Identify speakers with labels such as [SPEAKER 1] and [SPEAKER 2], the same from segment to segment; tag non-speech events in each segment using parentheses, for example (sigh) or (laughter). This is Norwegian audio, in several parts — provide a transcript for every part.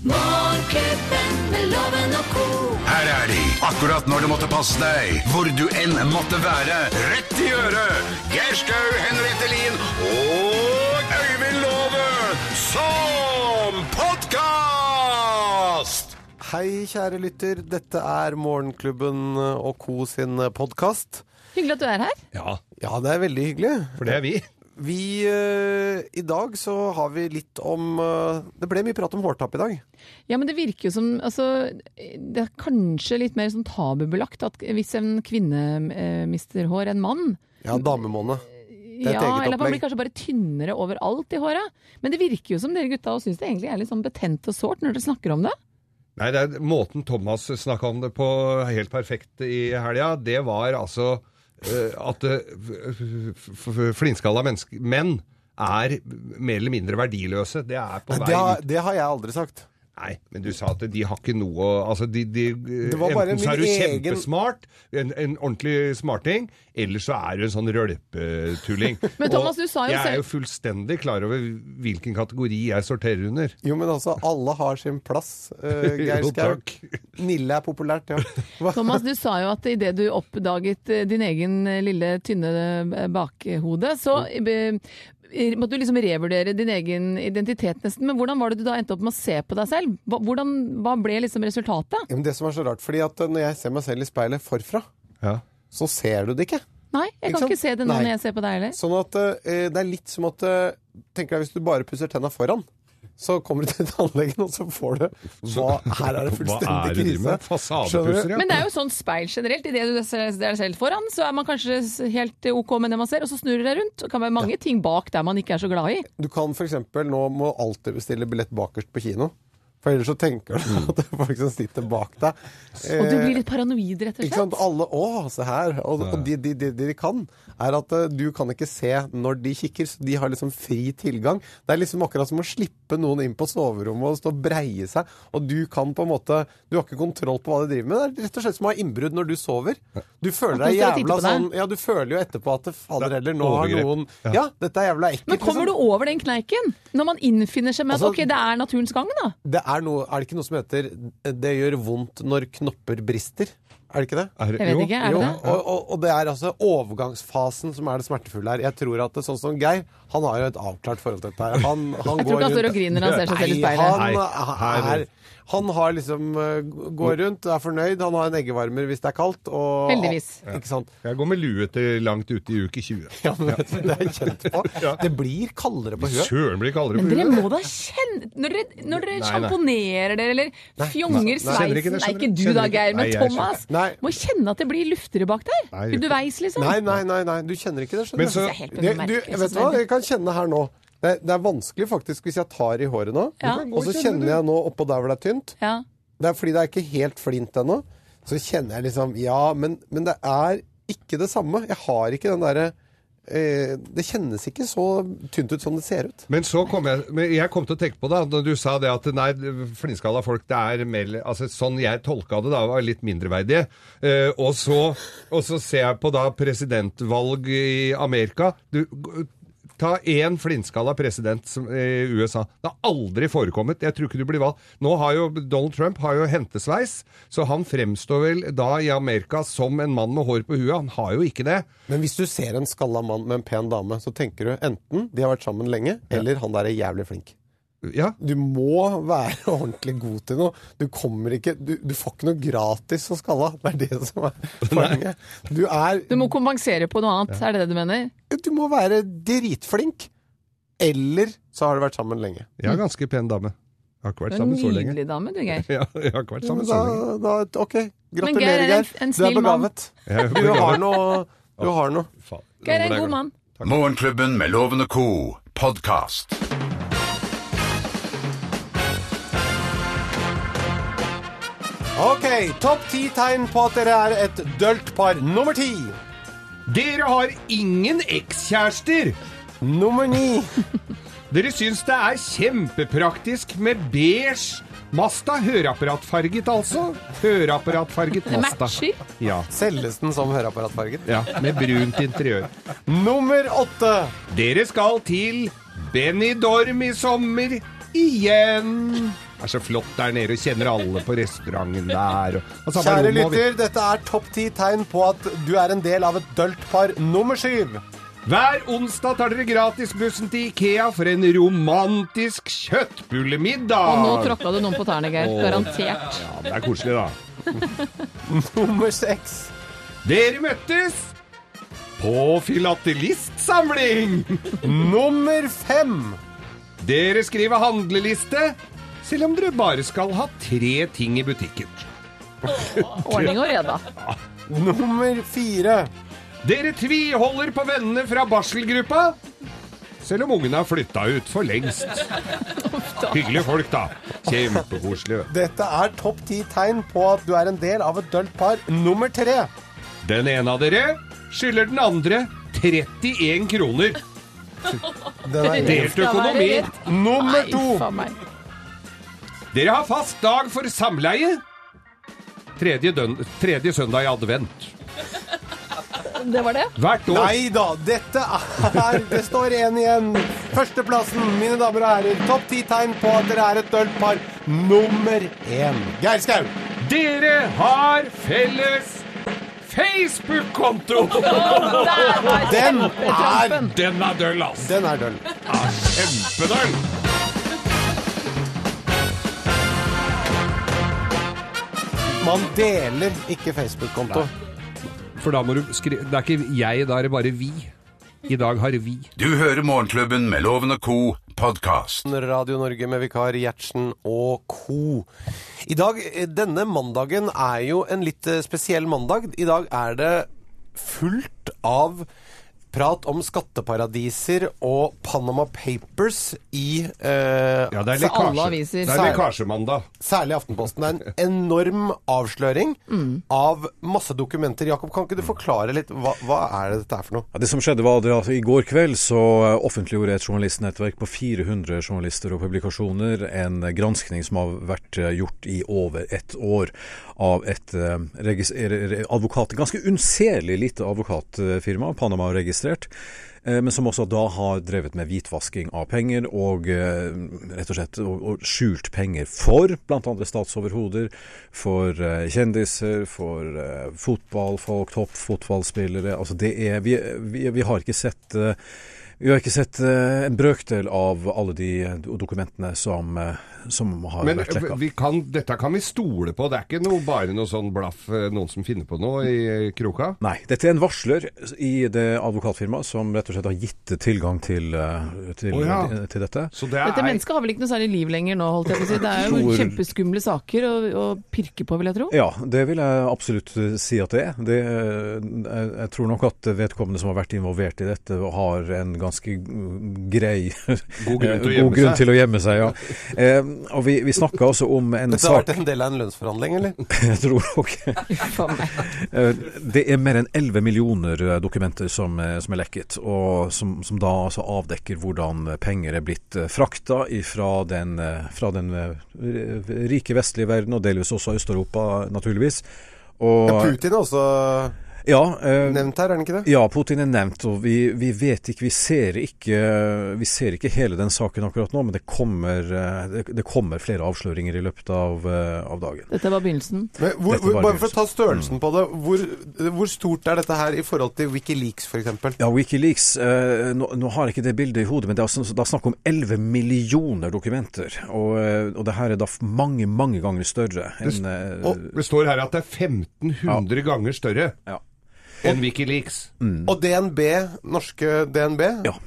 [SPEAKER 1] Morgenklubben med loven og ko.
[SPEAKER 2] Her er de, akkurat når du måtte passe deg, hvor du enn måtte være. Rett i øret! Geir Skau, Henriette Lien og Øyvind Låve som podkast!
[SPEAKER 3] Hei, kjære lytter. Dette er Morgenklubben og Co sin podkast.
[SPEAKER 4] Hyggelig at du er her.
[SPEAKER 5] Ja,
[SPEAKER 3] Ja, det er veldig hyggelig.
[SPEAKER 5] for det er vi.
[SPEAKER 3] Vi, eh, I dag så har vi litt om eh, Det ble mye prat om hårtapp i dag.
[SPEAKER 4] Ja, men det virker jo som altså, Det er kanskje litt mer sånn tabubelagt at hvis en kvinne eh, mister hår enn mann
[SPEAKER 3] Ja, damemåned. er et
[SPEAKER 4] ja,
[SPEAKER 3] eget
[SPEAKER 4] eller at man
[SPEAKER 3] opplegg.
[SPEAKER 4] blir kanskje bare tynnere overalt i håret. Men det virker jo som dere gutta syns det egentlig er litt sånn betent og sårt når dere snakker om det.
[SPEAKER 5] Nei, det er måten Thomas snakka om det på helt perfekt i helga, det var altså eh, at eh, f- f- f- flintskalla mennesk- menn er mer eller mindre verdiløse. Det er på
[SPEAKER 3] Det
[SPEAKER 5] vei
[SPEAKER 3] har,
[SPEAKER 5] ut.
[SPEAKER 3] det har jeg aldri sagt.
[SPEAKER 5] Nei, men du sa at de har ikke noe å Altså, de, de
[SPEAKER 3] var bare
[SPEAKER 5] Enten så
[SPEAKER 3] min
[SPEAKER 5] er du
[SPEAKER 3] egen-
[SPEAKER 5] kjempesmart, en, en ordentlig smarting, eller så er du en sånn rølpetulling.
[SPEAKER 4] (laughs) Men Thomas, du sa jo
[SPEAKER 5] Jeg
[SPEAKER 4] selv-
[SPEAKER 5] er jo fullstendig klar over hvilken kategori jeg sorterer under.
[SPEAKER 3] Jo, men altså, alle har sin plass, eh, Geir
[SPEAKER 5] (laughs) Jo,
[SPEAKER 3] Skau.
[SPEAKER 5] takk.
[SPEAKER 3] Nille er
[SPEAKER 5] (laughs)
[SPEAKER 3] populært, ja. Hva?
[SPEAKER 4] Thomas, du sa jo at idet du oppdaget eh, din egen eh, lille tynne eh, bakhode, så eh, be- måtte du liksom revurdere din egen identitet nesten. Men hvordan var det du da endte opp med å se på deg selv? Hva- Hvordan, hva ble liksom resultatet?
[SPEAKER 3] Ja, men det som er så rart, fordi at eh, når jeg ser meg selv i speilet forfra,
[SPEAKER 5] Ja.
[SPEAKER 3] så ser du det ikke.
[SPEAKER 4] Nei, jeg
[SPEAKER 3] Ikke
[SPEAKER 4] kan
[SPEAKER 3] sant?
[SPEAKER 4] ikke se det nå
[SPEAKER 3] Nei.
[SPEAKER 4] når jeg ser på deg heller.
[SPEAKER 3] Sånn at eh, det er litt som at eh, Tenker deg hvis du bare pusser tenna foran så kommer du til (laughs) tannlegen, og så får du hva, Her er det
[SPEAKER 5] Hva er
[SPEAKER 3] fullstendig
[SPEAKER 5] det du driver
[SPEAKER 3] krise.
[SPEAKER 5] med? Fasadepusser,
[SPEAKER 3] Skjønner du?
[SPEAKER 5] ja.
[SPEAKER 4] Men det er jo sånn speil generelt. Idet du ser deg selv foran, så er man kanskje s- helt OK med det man ser, og så snur du deg rundt. Det kan være mange ting bak der man ikke er så glad i.
[SPEAKER 3] Du kan f.eks. nå må alltid bestille billett bakerst på kino. For ellers så tenker du at det er folk som sitter bak deg.
[SPEAKER 4] Og du
[SPEAKER 3] eh,
[SPEAKER 4] blir litt paranoid, rett og
[SPEAKER 3] Ikke sant?
[SPEAKER 4] slett.
[SPEAKER 3] Alle Å, se her. Og, og de, de, de, de kan, er at eh, du kan ikke se når de kikker, så de har liksom fri tilgang. Det er liksom akkurat som å slippe noen inn på soverommet og stå og breie seg, og du kan på en måte Du har ikke kontroll på hva de driver med. Det er rett og slett som å ha innbrudd når du sover. Du føler
[SPEAKER 4] At
[SPEAKER 3] deg jævla
[SPEAKER 4] noen står og titter på deg.
[SPEAKER 3] sånn Ja, du føler jo etterpå at det faller
[SPEAKER 5] Det er
[SPEAKER 3] heller, nå har
[SPEAKER 5] overgrep.
[SPEAKER 3] noen Ja, dette er jævla ekkelt.
[SPEAKER 4] Men kommer du
[SPEAKER 3] liksom.
[SPEAKER 4] over den kneiken? Når man innfinner seg med at
[SPEAKER 3] Altså-
[SPEAKER 4] ok, det er naturens gang, da.
[SPEAKER 3] Det er, noe, er det ikke noe som heter 'det gjør vondt når knopper brister'? Er det ikke det?
[SPEAKER 5] Er-
[SPEAKER 4] Jeg vet
[SPEAKER 5] jo,
[SPEAKER 4] ikke, er det
[SPEAKER 3] Jo,
[SPEAKER 4] det?
[SPEAKER 3] og, og, og det er altså overgangsfasen som er det smertefulle her. Jeg tror at det, sånn som Geir, han har jo et avklart forhold til dette her. Han,
[SPEAKER 4] (laughs)
[SPEAKER 3] han
[SPEAKER 4] Jeg tror ikke han står og griner når han ser seg selv i
[SPEAKER 3] Nei,
[SPEAKER 4] speilet.
[SPEAKER 3] han,
[SPEAKER 5] Nei, her-
[SPEAKER 3] er, han har liksom eh, går rundt, er fornøyd, han har en eggevarmer hvis det er kaldt. Og,
[SPEAKER 4] Heldigvis.
[SPEAKER 3] Ikke sant?
[SPEAKER 5] Jeg går med lue til langt ute i uke 20.
[SPEAKER 3] Ja, men vet du, det er jeg kjent på. (laughs) Det blir kaldere på huet.
[SPEAKER 5] Søren blir kaldere
[SPEAKER 4] Men
[SPEAKER 5] på
[SPEAKER 4] dere
[SPEAKER 5] huet.
[SPEAKER 4] må da kjenne Når dere, når dere
[SPEAKER 5] Nei, nei.
[SPEAKER 4] sjamponerer dere eller
[SPEAKER 5] Skjønner
[SPEAKER 4] fjonger
[SPEAKER 5] ikke
[SPEAKER 4] sveisen
[SPEAKER 5] det,
[SPEAKER 4] Nei,
[SPEAKER 5] skjønner
[SPEAKER 4] ikke du
[SPEAKER 5] ikke.
[SPEAKER 4] da, Geir,
[SPEAKER 5] Nei,
[SPEAKER 4] men
[SPEAKER 5] jeg skjønner.
[SPEAKER 4] Thomas.
[SPEAKER 3] Nei.
[SPEAKER 4] Må kjenne at det blir luftigere bak der.
[SPEAKER 5] Nei, jeg gjør
[SPEAKER 4] Underveis, liksom.
[SPEAKER 3] Nei, nei, nei, nei, du kjenner ikke det. skjønner
[SPEAKER 5] Men
[SPEAKER 3] du.
[SPEAKER 5] så-
[SPEAKER 4] Det er helt
[SPEAKER 3] Det, du,
[SPEAKER 4] merkelig, jeg
[SPEAKER 3] vet
[SPEAKER 4] synes
[SPEAKER 3] du hva,
[SPEAKER 4] det er-
[SPEAKER 3] jeg kan kjenne her nå. Det, det er vanskelig faktisk hvis jeg tar i håret nå,
[SPEAKER 4] Ja.
[SPEAKER 3] og så kjenner jeg nå oppå der hvor det er tynt.
[SPEAKER 4] Ja.
[SPEAKER 3] Det er fordi det er ikke helt flint ennå. Så kjenner jeg liksom Ja, men, men det er ikke det samme. Jeg har ikke den derre eh, Det kjennes ikke så tynt ut som det ser ut.
[SPEAKER 5] Men så kom jeg, men jeg kom til å tenke på det når du sa det at nei, flintskalla folk det er mer, altså Sånn jeg tolka det, da, var litt mindreverdige. Eh, og, så, og så ser jeg på da presidentvalg i Amerika. Du, g- ta én flintskalla president som, i USA. Det har aldri forekommet. Jeg tror ikke du blir valgt. Nå har jo Donald Trump har jo hentesveis, så han fremstår vel da i Amerika som en mann med hår på huet. Han har jo ikke det.
[SPEAKER 3] Men hvis du ser en skalla mann med en pen dame, så tenker du enten de har vært sammen lenge, eller han der er jævlig flink.
[SPEAKER 5] Ja,
[SPEAKER 3] Du må være (laughs) ordentlig god til noe. Du kommer ikke Du, du får ikke noe gratis som skalla. Det er det (laughs) som er poenget. Du er
[SPEAKER 4] Du må kompensere på noe annet, er det det du mener?
[SPEAKER 3] Du må være dritflink, eller så har du vært sammen lenge.
[SPEAKER 5] jeg er ganske pen dame. Jeg har ikke
[SPEAKER 4] Du
[SPEAKER 5] vært
[SPEAKER 4] Mm. er en
[SPEAKER 5] sammen så lenge.
[SPEAKER 4] nydelig dame, du, Geir.
[SPEAKER 5] (laughs) Ja, jeg har ikke vært
[SPEAKER 3] Ja,
[SPEAKER 5] sammen
[SPEAKER 3] men
[SPEAKER 5] så
[SPEAKER 3] Mm, da,
[SPEAKER 5] lenge.
[SPEAKER 3] da, ok,
[SPEAKER 4] Men Geir er
[SPEAKER 3] gratulerer,
[SPEAKER 4] en-
[SPEAKER 3] Geir. Du
[SPEAKER 4] en
[SPEAKER 3] er
[SPEAKER 4] snill mann.
[SPEAKER 3] begavet.
[SPEAKER 5] Jeg er
[SPEAKER 3] Du har
[SPEAKER 5] begavet.
[SPEAKER 3] noe. Du har noe.
[SPEAKER 5] Faen,
[SPEAKER 4] Geir er
[SPEAKER 5] hvordan
[SPEAKER 4] en
[SPEAKER 5] jeg
[SPEAKER 4] god
[SPEAKER 5] går.
[SPEAKER 4] mann.
[SPEAKER 2] Morgenklubben med Loven og Co. podkast.
[SPEAKER 3] Ok, topp ti tegn på at dere er et dølt par. Nummer ti.
[SPEAKER 5] Dere har ingen ekskjærester!
[SPEAKER 3] Nummer ni.
[SPEAKER 5] Dere syns det er kjempepraktisk med beige Masta. Høreapparatfarget, altså. Høreapparatfarget
[SPEAKER 4] Det
[SPEAKER 5] Masta.
[SPEAKER 4] matcher.
[SPEAKER 5] Ja,
[SPEAKER 3] Selges den som høreapparatfarget?
[SPEAKER 5] ja, med brunt interiør.
[SPEAKER 3] Nummer åtte.
[SPEAKER 5] Dere skal til Benidorm i sommer. igjen. Det er så flott der nede, og kjenner alle på restauranten der. Og, og samme
[SPEAKER 3] Kjære
[SPEAKER 5] rom, og vi-
[SPEAKER 3] lytter, dette er topp ti tegn på at du er en del av et dølt par nummer syv.
[SPEAKER 5] Hver onsdag tar dere gratis bussen til Ikea for en romantisk kjøttbullemiddag.
[SPEAKER 4] Og nå tråkka du noen på tærne, Geir.
[SPEAKER 5] Åh.
[SPEAKER 4] Garantert.
[SPEAKER 5] Ja, det er koselig, da.
[SPEAKER 3] Nummer seks.
[SPEAKER 5] Dere møttes på filatelistsamling.
[SPEAKER 3] Nummer fem.
[SPEAKER 5] Dere skriver handleliste, selv om dere bare skal ha tre ting i butikken.
[SPEAKER 4] Ordning og reda.
[SPEAKER 3] Nummer fire.
[SPEAKER 5] Dere tviholder på vennene fra barselgruppa, selv om ungene har flytta ut for
[SPEAKER 4] (laughs)
[SPEAKER 5] lengst. Hyggelige folk, da. Kjempekoselige.
[SPEAKER 3] Dette er topp ti tegn på at du er en del av et dølt par nummer tre.
[SPEAKER 5] Den ene av dere skylder den andre 31 kroner.
[SPEAKER 3] Den er
[SPEAKER 5] Delt økonomi.
[SPEAKER 3] Nummer
[SPEAKER 4] Nei,
[SPEAKER 3] to.
[SPEAKER 4] faen meg.
[SPEAKER 5] Dere har fast dag for samleie. Tredje, døn tredje søndag i advent.
[SPEAKER 4] Det var det.
[SPEAKER 5] Hvert år.
[SPEAKER 3] Nei da, dette er (laughs) Det står én igjen. Førsteplassen, mine damer og herrer. Topp ti tegn på at dere er et dølt par nummer én. Geir Skau.
[SPEAKER 5] Dere har felles Facebook-konto!
[SPEAKER 3] Den er
[SPEAKER 5] Den er døll, ass.
[SPEAKER 3] Den er døll.
[SPEAKER 5] Kjempedøll!
[SPEAKER 3] Man deler ikke Facebook-konto.
[SPEAKER 5] For da må du skrive Det er ikke jeg, da er det bare vi. I dag har vi.
[SPEAKER 2] Du hører Morgenklubben med Loven og Co. podkast.
[SPEAKER 3] Radio Norge med vikar Gjertsen og co. I dag, eh, Denne mandagen er jo en litt eh, spesiell mandag. I dag er det fullt av prat om skatteparadiser og Panama Papers i eh,
[SPEAKER 4] er Så alle lekkasje. aviser.
[SPEAKER 5] Det er lekkasjemandag.
[SPEAKER 3] Særlig Aftenposten. Det er en enorm avsløring av masse dokumenter. Jakob, kan ikke du forklare litt? Hva, hva er det dette er for noe?
[SPEAKER 6] Ja, det som skjedde var det at I går kveld så eh, offentliggjorde et journalistnettverk på 400 journalister og publikasjoner en eh, granskning som har vært eh, gjort i over ett år av et eh, regis- eh, advokat, ganske unnselig lite advokatfirma, Panama-registrert, eh, men som også da har drevet med hvitvasking av penger og eh, rett og slett og, og skjult penger for bl.a. statsoverhoder, for eh, kjendiser, for eh, fotballfolk, toppfotballspillere. Altså det er Vi, vi, vi har ikke sett eh, vi har ikke sett eh, en brøkdel av alle de do- dokumentene som, eh, som har
[SPEAKER 5] Men eh,
[SPEAKER 6] vært lekka.
[SPEAKER 5] vi kan, dette kan vi stole på. Det er ikke noe, bare noe sånn blaff eh, noen som finner på noe i eh, kroka.
[SPEAKER 6] Nei. Dette er en varsler i det advokatfirmaet som rett og slett har gitt tilgang til, eh, til,
[SPEAKER 5] Å ja.
[SPEAKER 6] til dette.
[SPEAKER 5] Så det er
[SPEAKER 4] Dette mennesket har vel ikke noe særlig liv lenger nå, holdt jeg på å si. Det er jo
[SPEAKER 6] Tror-
[SPEAKER 4] kjempeskumle saker å, å pirke på, vil jeg tro.
[SPEAKER 6] Ja, det vil jeg absolutt eh, si at det er. Det, eh, jeg, jeg tror nok at vedkommende som har vært involvert i dette, har en ganske mm, grei
[SPEAKER 5] God grunn
[SPEAKER 6] (laughs)
[SPEAKER 5] til å
[SPEAKER 6] eh,
[SPEAKER 5] gjemme
[SPEAKER 6] god grunn
[SPEAKER 5] seg.
[SPEAKER 6] til å gjemme seg. Ja. Eh, og vi, vi snakka også
[SPEAKER 5] (laughs)
[SPEAKER 6] om en
[SPEAKER 3] Dette har
[SPEAKER 6] sak
[SPEAKER 3] vært en del av en lønnsforhandling, eller?
[SPEAKER 6] Jeg (laughs) tror nok
[SPEAKER 4] (laughs) Faen meg.
[SPEAKER 6] Eh, Det er mer enn 11 millioner eh, dokumenter som, eh, som er lekket, og som, som da altså avdekker hvordan eh, penger er blitt eh, frakta ifra den, eh, fra den eh, r- rike vestlige verden, og delvis også Øst-Europa, naturligvis. Og,
[SPEAKER 3] Putin er også
[SPEAKER 6] ja, eh,
[SPEAKER 3] nevnt her, er han ikke det?
[SPEAKER 6] ja, Putin er nevnt, og vi, vi vet ikke vi, ser ikke vi ser ikke hele den saken akkurat nå, men det kommer, eh, det, det kommer flere avsløringer i løpet av, eh, av dagen.
[SPEAKER 4] Dette var begynnelsen.
[SPEAKER 3] Men hvor,
[SPEAKER 6] Dette var Mm.
[SPEAKER 3] bare for å
[SPEAKER 6] begynnelsen.
[SPEAKER 3] ta størrelsen på det, hvor, hvor stort er dette her i forhold til Wikileaks f.eks.?
[SPEAKER 6] Ja, Wikileaks eh, nå, nå har jeg ikke det bildet i hodet, men det er, altså- det er snakk om 11 millioner dokumenter. Og, eh, og det her er da f- mange, mange ganger større enn eh,
[SPEAKER 5] Det står her at det er 1500 ganger større
[SPEAKER 6] ja.
[SPEAKER 5] enn Wikileaks.
[SPEAKER 3] Og DNB, norske DNB,
[SPEAKER 6] Mm. Ja.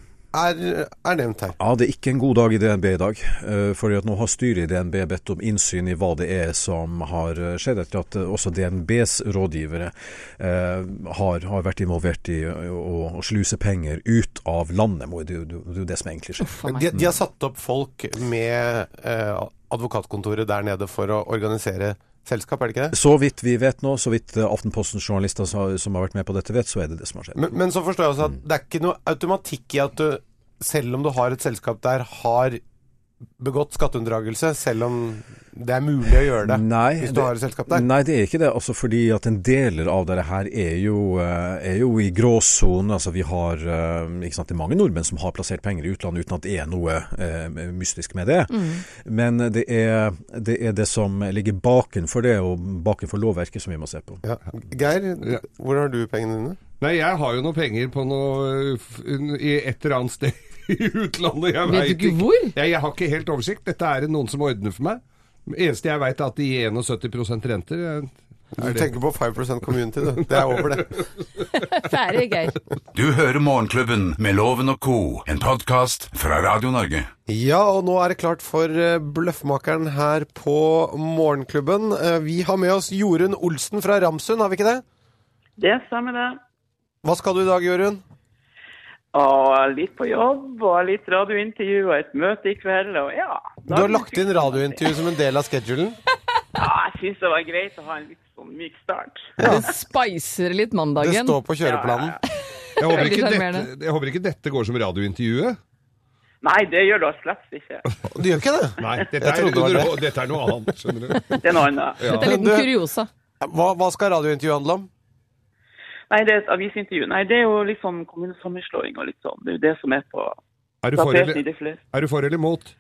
[SPEAKER 3] er, er nevnt her.
[SPEAKER 6] ja, det er ikke en god dag i DNB i dag. Uh, fordi at nå har styret i DNB bedt om innsyn i hva det er som har eh, skjedd, etter at eh, også DNBs rådgivere eh, har, har vært involvert i å, å, å sluse penger ut av landet. må- Det er jo det er jo det som egentlig skjer.
[SPEAKER 4] Faen meg.
[SPEAKER 3] De,
[SPEAKER 6] Mm.
[SPEAKER 3] de har satt opp folk med eh, advokatkontoret der nede for å organisere selskap, er det ikke det?
[SPEAKER 6] Så vidt vi vet nå, så vidt eh, Aftenpostens journalister sa- som har vært med på dette vet, så er det det som har skjedd.
[SPEAKER 3] Men, men så forstår jeg også
[SPEAKER 6] Mm.
[SPEAKER 3] at det er ikke noe automatikk i at du, selv om du har et selskap der, har begått skatteunndragelse, selv om Det er mulig å gjøre det
[SPEAKER 6] Nei,
[SPEAKER 3] hvis du
[SPEAKER 6] det-
[SPEAKER 3] har et selskap der.
[SPEAKER 6] Nei, det er ikke det. Altså, fordi at en deler av dette her er jo, eh, er jo i gråsonen. Altså, vi har eh, ikke sant, Det er mange nordmenn som har plassert penger i utlandet uten at det er noe eh, mystisk med det. Men det er, det er det som ligger bakenfor det, og bakenfor lovverket, som vi må se på.
[SPEAKER 3] Ja. Geir, hvor har du pengene dine?
[SPEAKER 5] Nei, jeg har jo noe penger på noe uh, f- i et eller annet sted (laughs) i utlandet. Jeg
[SPEAKER 4] Vet
[SPEAKER 5] vet
[SPEAKER 4] du ikke hvor?
[SPEAKER 5] Jeg, jeg har ikke helt oversikt. Dette er det noen som ordner for meg. Det eneste jeg veit, er at de gir 71 renter. Jeg-
[SPEAKER 3] Du tenker på 5 community, du. Det er over, det.
[SPEAKER 4] Færre, Geir.
[SPEAKER 2] Du hører Morgenklubben med Loven og Co., en podkast fra Radio Norge.
[SPEAKER 3] (laughs) Ja, og nå er det klart for eh, Bløffmakeren her på Morgenklubben. Eh, Vi har med oss Jorunn Olsen fra Ramsund, har vi ikke det?
[SPEAKER 7] Det stemmer det.
[SPEAKER 3] Hva skal du i dag, Jorunn?
[SPEAKER 7] Og litt på jobb, og litt radiointervju, og et møte i kveld, og ja.
[SPEAKER 3] Du har lagt inn radiointervju som en del av schedulen.
[SPEAKER 7] Ja, jeg syns det var greit å ha en litt sånn myk start.
[SPEAKER 4] Det spicer litt
[SPEAKER 3] Det
[SPEAKER 4] mandagen.
[SPEAKER 3] står på kjøreplanen.
[SPEAKER 5] Jeg håper,
[SPEAKER 4] Veldig
[SPEAKER 5] ikke dette,
[SPEAKER 4] sjarmerende.
[SPEAKER 5] jeg håper ikke dette går som radiointervjuet.
[SPEAKER 7] Nei, det gjør det slett ikke.
[SPEAKER 3] Du gjør ikke det?
[SPEAKER 5] Nei, dette
[SPEAKER 3] Jeg
[SPEAKER 5] er,
[SPEAKER 3] trodde det var
[SPEAKER 5] underhold- dette er noe annet, skjønner du.
[SPEAKER 7] Det er noe
[SPEAKER 3] (laughs)
[SPEAKER 7] annet.
[SPEAKER 4] Dette er en
[SPEAKER 3] Du-
[SPEAKER 4] liten kuriosa.
[SPEAKER 3] Hva, hva skal radiointervjuet handle om?
[SPEAKER 7] Nei, det er et avisintervju. Nei, det er jo litt sånn kommunesammenslåing og litt sånn. Det er jo det som er på
[SPEAKER 5] Er du for
[SPEAKER 7] tapeten
[SPEAKER 5] eller,
[SPEAKER 7] i de fleste.
[SPEAKER 5] er du for eller imot?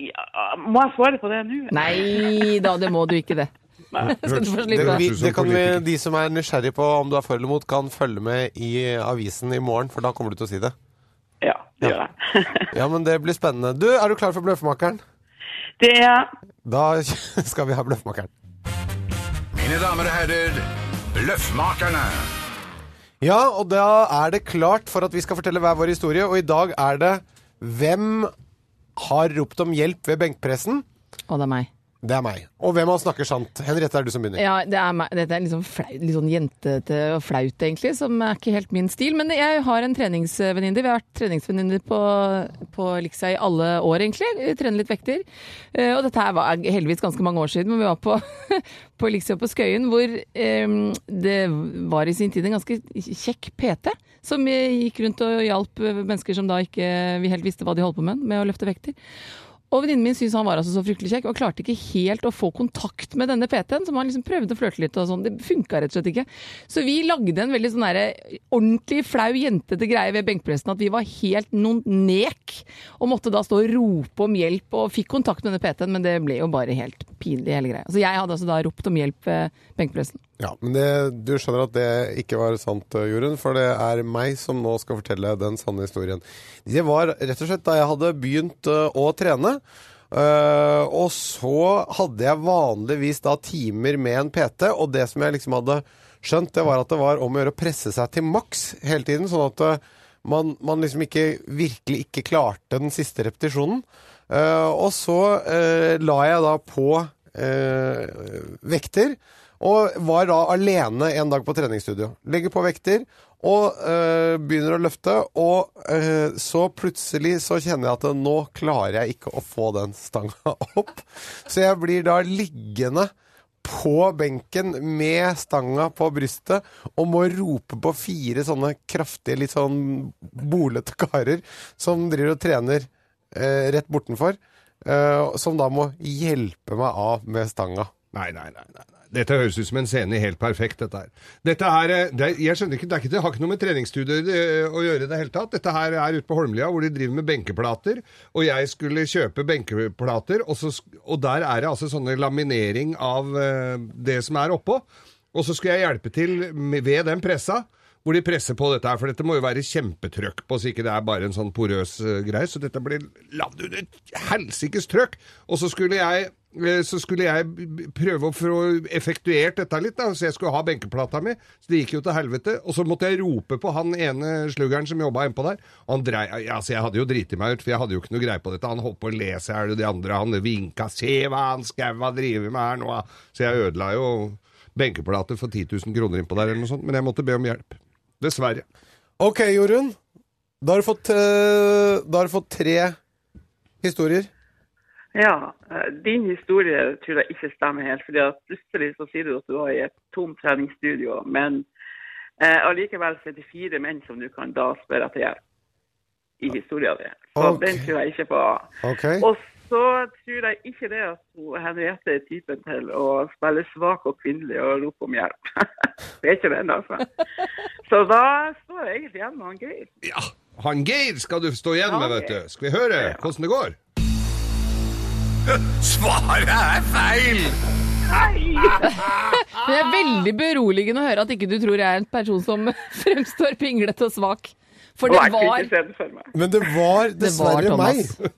[SPEAKER 7] Ja, må jeg svare på det nå?
[SPEAKER 4] Nei da, det må du ikke det. (laughs) Skal du
[SPEAKER 3] Det,
[SPEAKER 4] få slippe.
[SPEAKER 3] vi,
[SPEAKER 5] Hørtes ut som
[SPEAKER 3] det kan vi,
[SPEAKER 5] politiker.
[SPEAKER 3] de som er nysgjerrig på om du er for eller mot, kan følge med i avisen i morgen, for da kommer du til å si det.
[SPEAKER 7] Ja, det gjør jeg. (laughs)
[SPEAKER 3] Ja, men det blir spennende. Du, er du klar for Bløffmakeren?
[SPEAKER 7] Det er
[SPEAKER 3] Da (laughs) skal vi ha Bløffmakeren.
[SPEAKER 2] Mine damer og herrer, Løffmakerne.
[SPEAKER 3] Ja, og da er det klart for at vi skal fortelle hver vår historie, og i dag er det Hvem har ropt om hjelp ved benkpressen?
[SPEAKER 4] Å, det er meg.
[SPEAKER 3] Det er meg. Og hvem av oss snakker sant? Henriette, er du som begynner.
[SPEAKER 4] Ja, det er meg. Dette er litt sånn flau- litt sånn jentete og flaut, egentlig, som er ikke helt min stil. Men jeg har en treningsvenninne. Vi har vært treningsvenninner på, på Liksa i alle år, egentlig. Trener litt vekter. Eh, Og dette her var heldigvis ganske mange år siden, men vi var på, (laughs) på Liksa på Skøyen, hvor eh, det var i sin tid en ganske kjekk PT. Som eh, gikk rundt og hjalp eh, mennesker som da ikke vi helt visste hva de holdt på med, med å løfte vekter. Og venninnen min syntes han var altså så fryktelig kjekk, og klarte ikke helt å få kontakt med denne PT-en, som han liksom prøvde å flørte litt og sånn. Det funka rett og slett ikke. Så vi lagde en veldig sånn derre ordentlig flau, jentete greie ved benkpressen at vi var helt noen nek, og måtte da stå og rope om hjelp, og fikk kontakt med denne PT-en, men det ble jo bare helt pinlig, hele greia. Så jeg hadde altså da ropt om hjelp ved benkpressen.
[SPEAKER 3] Ja, men det, du skjønner at det ikke var sant, eh, Jorunn, for det er meg som nå skal fortelle den sanne historien. Det var rett og slett da jeg hadde begynt eh, å trene, eh, og så hadde jeg vanligvis da timer med en PT, og det som jeg liksom hadde skjønt, det var at det var om å gjøre å presse seg til maks hele tiden, sånn at eh, man, man liksom ikke virkelig ikke klarte den siste repetisjonen. Eh, og så eh, la jeg da på eh, vekter, og var da alene en dag på treningsstudio. Legger på vekter og eh, begynner å løfte, og eh, så plutselig så kjenner jeg at nå klarer jeg ikke å få den stanga (laughs) opp. Så jeg blir da liggende på benken med stanga på brystet og må rope på fire sånne kraftige, litt sånn bolete karer som driver og trener eh, rett bortenfor, eh, som da må hjelpe meg av med stanga.
[SPEAKER 5] Nei, nei, nei. nei. nei. Dette høres ut som en scene i helt perfekt, dette her. Dette her, eh, det, er- jeg skjønner ikke, det, er ikke, det har ikke noe med treningsstudier eh, å gjøre i det hele tatt. Dette her er ute på Holmlia, hvor de driver med benkeplater, og jeg skulle kjøpe benkeplater, og, så, sk- og der er det altså sånne laminering av eh, det som er oppå, og så skulle jeg hjelpe til med, ved den pressa, hvor de presser på dette her, for dette må jo være kjempetrøkk på, så ikke det er bare en sånn porøs eh, greie, så dette blir lavd under helsikes trøkk, og så skulle jeg eh, så skulle jeg b- b- prøve å få effektuert dette litt, da, så jeg skulle ha benkeplata mi. Så det gikk jo til helvete. Og så måtte jeg rope på han ene sluggeren som jobba innpå der. Og han drei, altså Jeg hadde jo driti meg ut, for jeg hadde jo ikke noe greie på dette. Han holdt på å le seg i hjel, og de andre han vinka 'se hva han skaua driver med her nå', da». Så jeg ødela jo benkeplater for 10 000 kroner innpå der, eller noe sånt. Men jeg måtte be om hjelp. Dessverre.
[SPEAKER 3] Ok, Jorunn. Da har du fått, eh, da har du fått tre historier.
[SPEAKER 7] Ja, eh, din historie tror jeg ikke stemmer helt. fordi at plutselig så sier du at du var i et tomt treningsstudio, men eh, allikevel så er det fire menn som du kan da spørre etter hjelp i historien din. Så
[SPEAKER 3] Ok.
[SPEAKER 7] den tror jeg ikke på.
[SPEAKER 3] Ok.
[SPEAKER 7] Og så tror jeg ikke det at hun- Henriette er typen til å spille svak og kvinnelig og rope om hjelp. (laughs) det er ikke den, altså. Så da står jeg egentlig igjen med han Geir.
[SPEAKER 5] Ja, han Geir skal du stå igjen med, vet du. Skal vi høre hvordan det går?
[SPEAKER 2] Svaret er feil!
[SPEAKER 4] Men det er veldig beroligende å høre at ikke du tror jeg er en person som (laughs) fremstår pinglete og svak. For
[SPEAKER 7] Og
[SPEAKER 4] det
[SPEAKER 7] jeg kunne
[SPEAKER 4] var
[SPEAKER 7] ikke se det for meg.
[SPEAKER 3] Men det var dessverre
[SPEAKER 4] Thomas.
[SPEAKER 3] meg.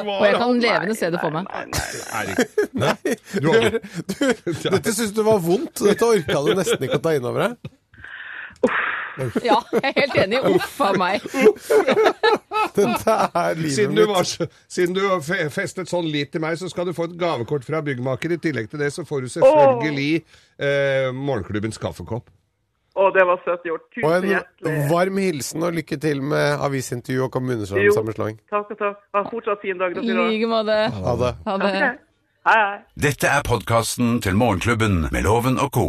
[SPEAKER 4] Og jeg kan levende se det for meg.
[SPEAKER 7] Nei, nei, nei.
[SPEAKER 5] Erik. Nei, du har
[SPEAKER 3] (laughs) Du, dette syns du var vondt. Dette orka du nesten ikke å ta inn over deg.
[SPEAKER 4] Ja, jeg er helt enig. Uff a meg.
[SPEAKER 3] Dette er livet
[SPEAKER 5] Siden du,
[SPEAKER 3] mitt.
[SPEAKER 5] var, så- siden du har fe- festet sånn lit til meg, så skal du få et gavekort fra byggmaker. I tillegg til det så får du selvfølgelig eh, morgenklubbens kaffekopp.
[SPEAKER 7] Å, det var søtt gjort.
[SPEAKER 3] Og
[SPEAKER 7] Tusen hjertelig.
[SPEAKER 3] en varm hilsen og lykke til med avisintervju og
[SPEAKER 7] Jo,
[SPEAKER 3] kommunesammenslåing.
[SPEAKER 7] takk og takk. Ha fortsatt fin dag.
[SPEAKER 4] I
[SPEAKER 7] dere også.
[SPEAKER 4] like måte.
[SPEAKER 3] Ha det.
[SPEAKER 4] Ha det.
[SPEAKER 7] Hei, hei.
[SPEAKER 2] Dette er podkasten til Morgenklubben med Loven og co.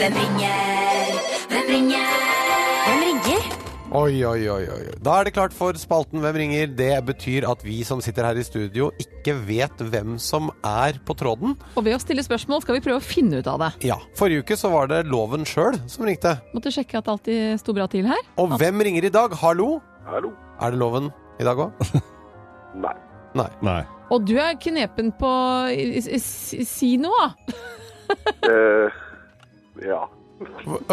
[SPEAKER 1] Hvem ringer? Hvem ringer? Hvem ringer?
[SPEAKER 3] Oi, oi, oi, oi. oi. Da er det klart for spalten Hvem ringer? Det betyr at vi som sitter her i studio, ikke vet hvem som er på tråden.
[SPEAKER 4] Og ved å stille spørsmål skal vi prøve å finne ut av det.
[SPEAKER 3] Ja, Forrige uke så var det Loven sjøl som ringte.
[SPEAKER 4] Måtte sjekke at alt i- sto bra til her.
[SPEAKER 3] Og hvem ringer i dag? Hallo?
[SPEAKER 8] Hallo?
[SPEAKER 3] Er det Loven i dag òg?
[SPEAKER 8] Nei.
[SPEAKER 5] Nei.
[SPEAKER 4] Og du er knepen på i- i- i- Si noe, da.
[SPEAKER 8] Eh, ja.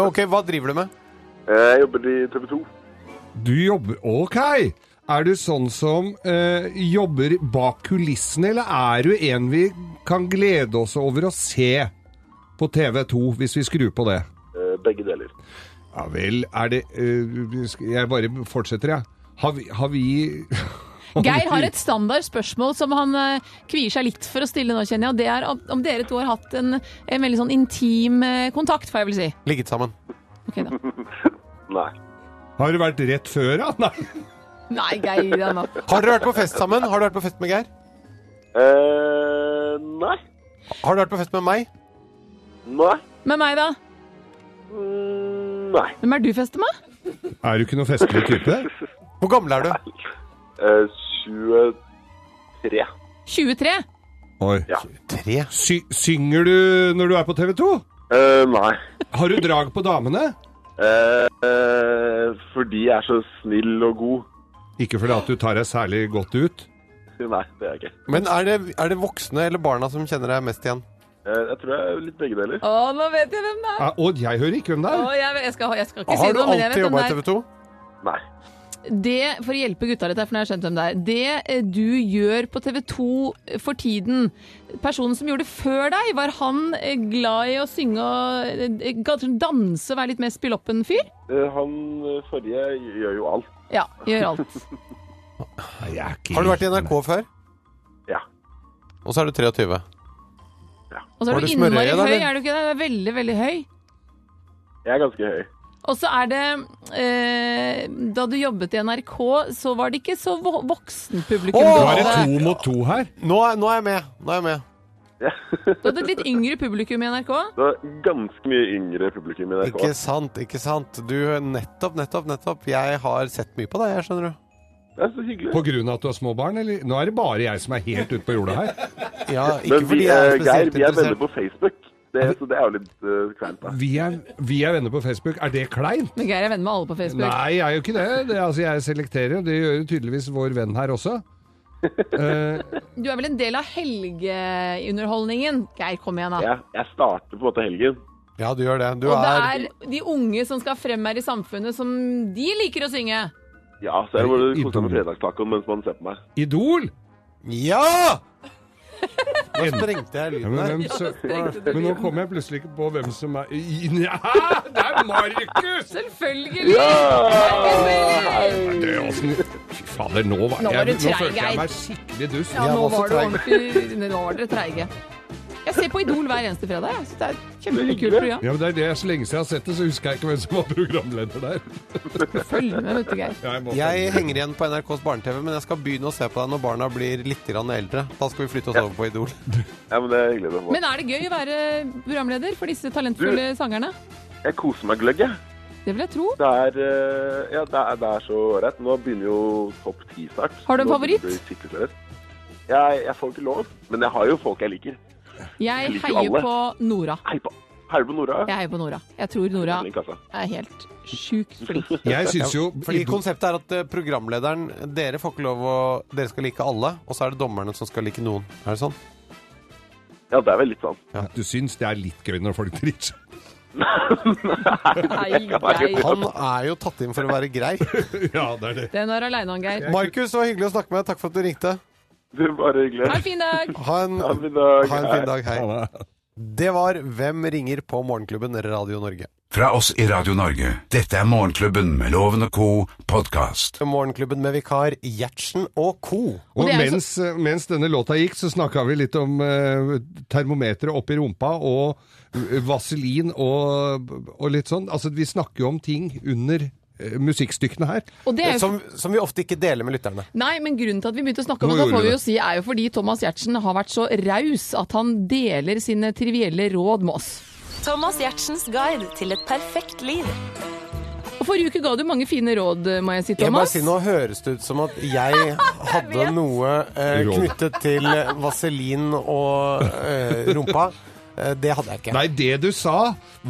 [SPEAKER 3] Ok, hva driver du med?
[SPEAKER 8] Eh, jeg jobber i TV 2.
[SPEAKER 5] Du jobber Ok! Er du sånn som eh, jobber bak kulissene, eller er du en vi kan glede oss over å se på TV 2, hvis vi skrur på det?
[SPEAKER 8] Eh, begge deler.
[SPEAKER 5] Ja vel, er det eh, sk- Jeg bare fortsetter, jeg. Har vi, har vi (laughs)
[SPEAKER 4] Geir har et standard spørsmål som han eh, kvier seg litt for å stille nå, kjenner jeg. Og det er om- om dere to har hatt en, en veldig sånn intim eh, kontakt, får jeg vel si.
[SPEAKER 3] Ligget sammen.
[SPEAKER 4] Ok (laughs) da.
[SPEAKER 8] Nei.
[SPEAKER 5] Har du vært rett før, da? (laughs) Nei.
[SPEAKER 4] Nei, Geir. gi deg nå.
[SPEAKER 3] Har dere vært på fest sammen? Har du vært på fest med Geir?
[SPEAKER 8] Eh, nei.
[SPEAKER 3] Har du vært på fest med meg?
[SPEAKER 8] Nei.
[SPEAKER 4] Med meg, da?
[SPEAKER 8] Mm, nei.
[SPEAKER 4] Hvem er du fester med?
[SPEAKER 5] Er du ikke noen festlig
[SPEAKER 8] (laughs)
[SPEAKER 5] type?
[SPEAKER 3] Hvor gammel er du?
[SPEAKER 8] Eh, 23.
[SPEAKER 4] 23?
[SPEAKER 5] Oi.
[SPEAKER 3] Tre.
[SPEAKER 5] Sy synger du når du er på TV 2?
[SPEAKER 8] Eh, nei.
[SPEAKER 5] Har du drag på damene?
[SPEAKER 8] Eh, eh, fordi jeg er så snill og god.
[SPEAKER 5] Ikke fordi at du tar deg særlig godt ut?
[SPEAKER 8] Nei, det er jeg ikke.
[SPEAKER 3] Men er det, er det voksne eller barna som kjenner deg mest igjen?
[SPEAKER 8] Eh, jeg tror jeg er litt begge deler.
[SPEAKER 4] Å, nå vet jeg hvem det er.
[SPEAKER 5] Ja, og jeg hører ikke hvem det
[SPEAKER 4] Å,
[SPEAKER 5] er.
[SPEAKER 4] jeg, jeg, skal, jeg skal ikke si
[SPEAKER 3] Har du
[SPEAKER 4] noe, men jeg
[SPEAKER 3] alltid
[SPEAKER 4] vet hvem
[SPEAKER 3] jobba i
[SPEAKER 4] det er.
[SPEAKER 3] TV 2?
[SPEAKER 8] Nei.
[SPEAKER 4] det, for å hjelpe gutta litt her, for nå har jeg skjønt hvem det er, det eh, du gjør på TV 2 eh, for tiden, personen som gjorde det før deg, var han eh, glad i å synge og eh, kanskje danse og være litt mer spilloppen-fyr?
[SPEAKER 8] Eh, han eh, forrige gjør jo alt.
[SPEAKER 4] Ja, gjør alt.
[SPEAKER 5] Nei, jeg er ikke
[SPEAKER 3] Har du vært i
[SPEAKER 5] helt-
[SPEAKER 3] NRK før?
[SPEAKER 8] Ja.
[SPEAKER 3] Og så er du 23.
[SPEAKER 4] Og så
[SPEAKER 3] Var
[SPEAKER 4] er du
[SPEAKER 3] det
[SPEAKER 4] innmari
[SPEAKER 3] smørøye, da,
[SPEAKER 4] høy,
[SPEAKER 3] eller?
[SPEAKER 4] er du ikke det? Du er veldig, veldig høy.
[SPEAKER 8] Jeg er ganske høy.
[SPEAKER 4] Og så er det eh, Da du jobbet i NRK, så var det ikke så vo voksenpublikum.
[SPEAKER 3] Åh!
[SPEAKER 5] Nå
[SPEAKER 4] du
[SPEAKER 5] er det
[SPEAKER 4] hadde.
[SPEAKER 5] to mot to her.
[SPEAKER 3] Nå er, nå er jeg med. Nå er jeg med.
[SPEAKER 4] Du hadde et litt yngre publikum i NRK.
[SPEAKER 8] Det var ganske mye yngre publikum i NRK.
[SPEAKER 3] Ikke sant, ikke sant. Du, nettopp, nettopp, nettopp. Jeg har sett mye på deg, jeg skjønner du.
[SPEAKER 8] Det er så hyggelig.
[SPEAKER 5] På grunn av at du har små barn, eller? Nå er det bare jeg som er helt ute på jorda her.
[SPEAKER 3] Ja, ikke
[SPEAKER 8] Men
[SPEAKER 3] fordi
[SPEAKER 8] vi,
[SPEAKER 3] jeg er
[SPEAKER 8] eh, Geir,
[SPEAKER 3] spesielt
[SPEAKER 8] vi er venner
[SPEAKER 3] interessert.
[SPEAKER 8] på Facebook. Det, så det er jo litt uh, kleint, da.
[SPEAKER 5] Vi er, vi er venner på Facebook. Er det kleint?
[SPEAKER 4] Men Geir er venn med alle på Facebook.
[SPEAKER 5] Nei, jeg er jo ikke det. det altså, jeg selekterer. Det gjør jo tydeligvis vår venn her også. Eh,
[SPEAKER 4] Du er vel en del av helgeunderholdningen? Geir, kom igjen, da.
[SPEAKER 8] Jeg, jeg starter på en måte helgen.
[SPEAKER 3] Ja, du gjør det. Du
[SPEAKER 4] Og
[SPEAKER 3] er
[SPEAKER 4] det er de unge som skal frem her i samfunnet, som de liker å synge.
[SPEAKER 8] Ja, så er det bare å
[SPEAKER 5] I
[SPEAKER 8] kose seg med
[SPEAKER 5] Idol.
[SPEAKER 8] fredagstacoen mens man ser på meg.
[SPEAKER 5] Idol!
[SPEAKER 3] Ja! Nå
[SPEAKER 5] En-
[SPEAKER 3] sprengte jeg
[SPEAKER 5] Ja,
[SPEAKER 3] lyden
[SPEAKER 5] men,
[SPEAKER 3] her.
[SPEAKER 5] hvem sø-
[SPEAKER 4] strengte du
[SPEAKER 5] men nå kommer jeg plutselig ikke på hvem som er I- Nja, det er Markus!
[SPEAKER 4] Selvfølgelig!
[SPEAKER 5] Det er åssen- Fy fader, nå var
[SPEAKER 4] Nå var
[SPEAKER 5] jeg
[SPEAKER 4] du
[SPEAKER 5] Nå
[SPEAKER 4] treig,
[SPEAKER 5] følte
[SPEAKER 4] Geir.
[SPEAKER 5] jeg meg skikkelig dust.
[SPEAKER 4] Ja,
[SPEAKER 3] Jeg
[SPEAKER 4] nå
[SPEAKER 3] var
[SPEAKER 4] var
[SPEAKER 3] så
[SPEAKER 4] du
[SPEAKER 3] treig.
[SPEAKER 4] ordentlig Nå var dere treige. Jeg ser på Idol hver eneste fredag. Jeg synes det er et kjempekult program.
[SPEAKER 5] Ja, men det er det jeg så lenge siden jeg har sett det, så husker jeg ikke hvem som var programleder der.
[SPEAKER 4] Følg med, vet du, Geir.
[SPEAKER 5] Jeg må
[SPEAKER 3] Jeg henger igjen på NRKs barne-TV, men jeg skal begynne å se på deg når barna blir litt grann eldre. Da skal vi flytte oss over på Idol.
[SPEAKER 8] Ja, men det er hyggelig. å få.
[SPEAKER 4] Men er det gøy å være programleder for disse talentfulle sangerne?
[SPEAKER 8] Jeg koser meg gløgg, jeg.
[SPEAKER 4] Det vil jeg tro.
[SPEAKER 8] Det er, eh, ja, det er, det er så ålreit. Nå begynner jo topp ti snart.
[SPEAKER 4] Har du en
[SPEAKER 8] Nå
[SPEAKER 4] favoritt?
[SPEAKER 8] begynner det å bli skikkelig ålreit. Jeg, jeg får ikke lov, men jeg har jo folk jeg liker.
[SPEAKER 4] Jeg
[SPEAKER 8] liker jo
[SPEAKER 4] heier
[SPEAKER 8] alle.
[SPEAKER 4] på Nora.
[SPEAKER 8] Hei på, hei på Nora.
[SPEAKER 4] Jeg heier på Nora. Jeg tror Nora
[SPEAKER 8] Flink, altså.
[SPEAKER 4] er helt sjukt flink.
[SPEAKER 5] Jeg syns jo
[SPEAKER 3] Fordi Konseptet er at eh, programlederen Dere får ikke lov å Dere skal like alle, og så er det dommerne som skal like noen. Er det sånn?
[SPEAKER 8] Ja, det er vel litt sånn. (laughs)
[SPEAKER 5] Du syns det er litt gøy når folk (laughs) driter seg
[SPEAKER 4] Nei, nei.
[SPEAKER 3] Han er jo tatt inn for å være grei.
[SPEAKER 8] (laughs)
[SPEAKER 5] Ja, det er det.
[SPEAKER 4] Den er aleine, Geir.
[SPEAKER 3] Markus, det var hyggelig å snakke med deg. Takk for at du ringte.
[SPEAKER 8] Du, bare hyggelig.
[SPEAKER 4] Ha en fin dag!
[SPEAKER 3] Ha en,
[SPEAKER 8] Ha en fin dag.
[SPEAKER 3] ha en fin dag. Hei.
[SPEAKER 5] Ja,
[SPEAKER 3] Det var Hvem ringer på Morgenklubben Radio Norge.
[SPEAKER 2] Fra oss i Radio Norge. Dette er Morgenklubben med Loven og co. podkast.
[SPEAKER 3] Morgenklubben med vikar Gjertsen og co.
[SPEAKER 5] Og
[SPEAKER 4] det er altså- jo
[SPEAKER 5] mens, mens denne låta gikk, så snakka vi litt om eh, termometeret oppi rumpa og eh, vaselin og, og litt sånn. Altså, vi snakker jo om ting under eh, musikkstykkene her.
[SPEAKER 4] Og det er jo
[SPEAKER 3] Som, som vi ofte ikke deler med lytterne.
[SPEAKER 4] Nei, men grunnen til at vi begynte å snakke om
[SPEAKER 5] Nå
[SPEAKER 4] det, da
[SPEAKER 5] gjorde
[SPEAKER 4] får
[SPEAKER 5] vi
[SPEAKER 4] vi
[SPEAKER 5] det.
[SPEAKER 4] jo si, er jo fordi Thomas Giertsen har vært så raus at han deler sine trivielle råd med oss.
[SPEAKER 1] Thomas Gjertsens guide til et perfekt liv.
[SPEAKER 4] Og Forrige uke ga du mange fine råd, eh, må jeg si,
[SPEAKER 3] Jeg bare
[SPEAKER 4] Thomas.
[SPEAKER 3] si Nå høres det ut som at
[SPEAKER 4] (laughs)
[SPEAKER 3] jeg hadde noe eh,
[SPEAKER 5] Råd.
[SPEAKER 3] knyttet til eh, vaselin og eh, rumpa. Eh, det hadde jeg ikke.
[SPEAKER 5] Nei, det du sa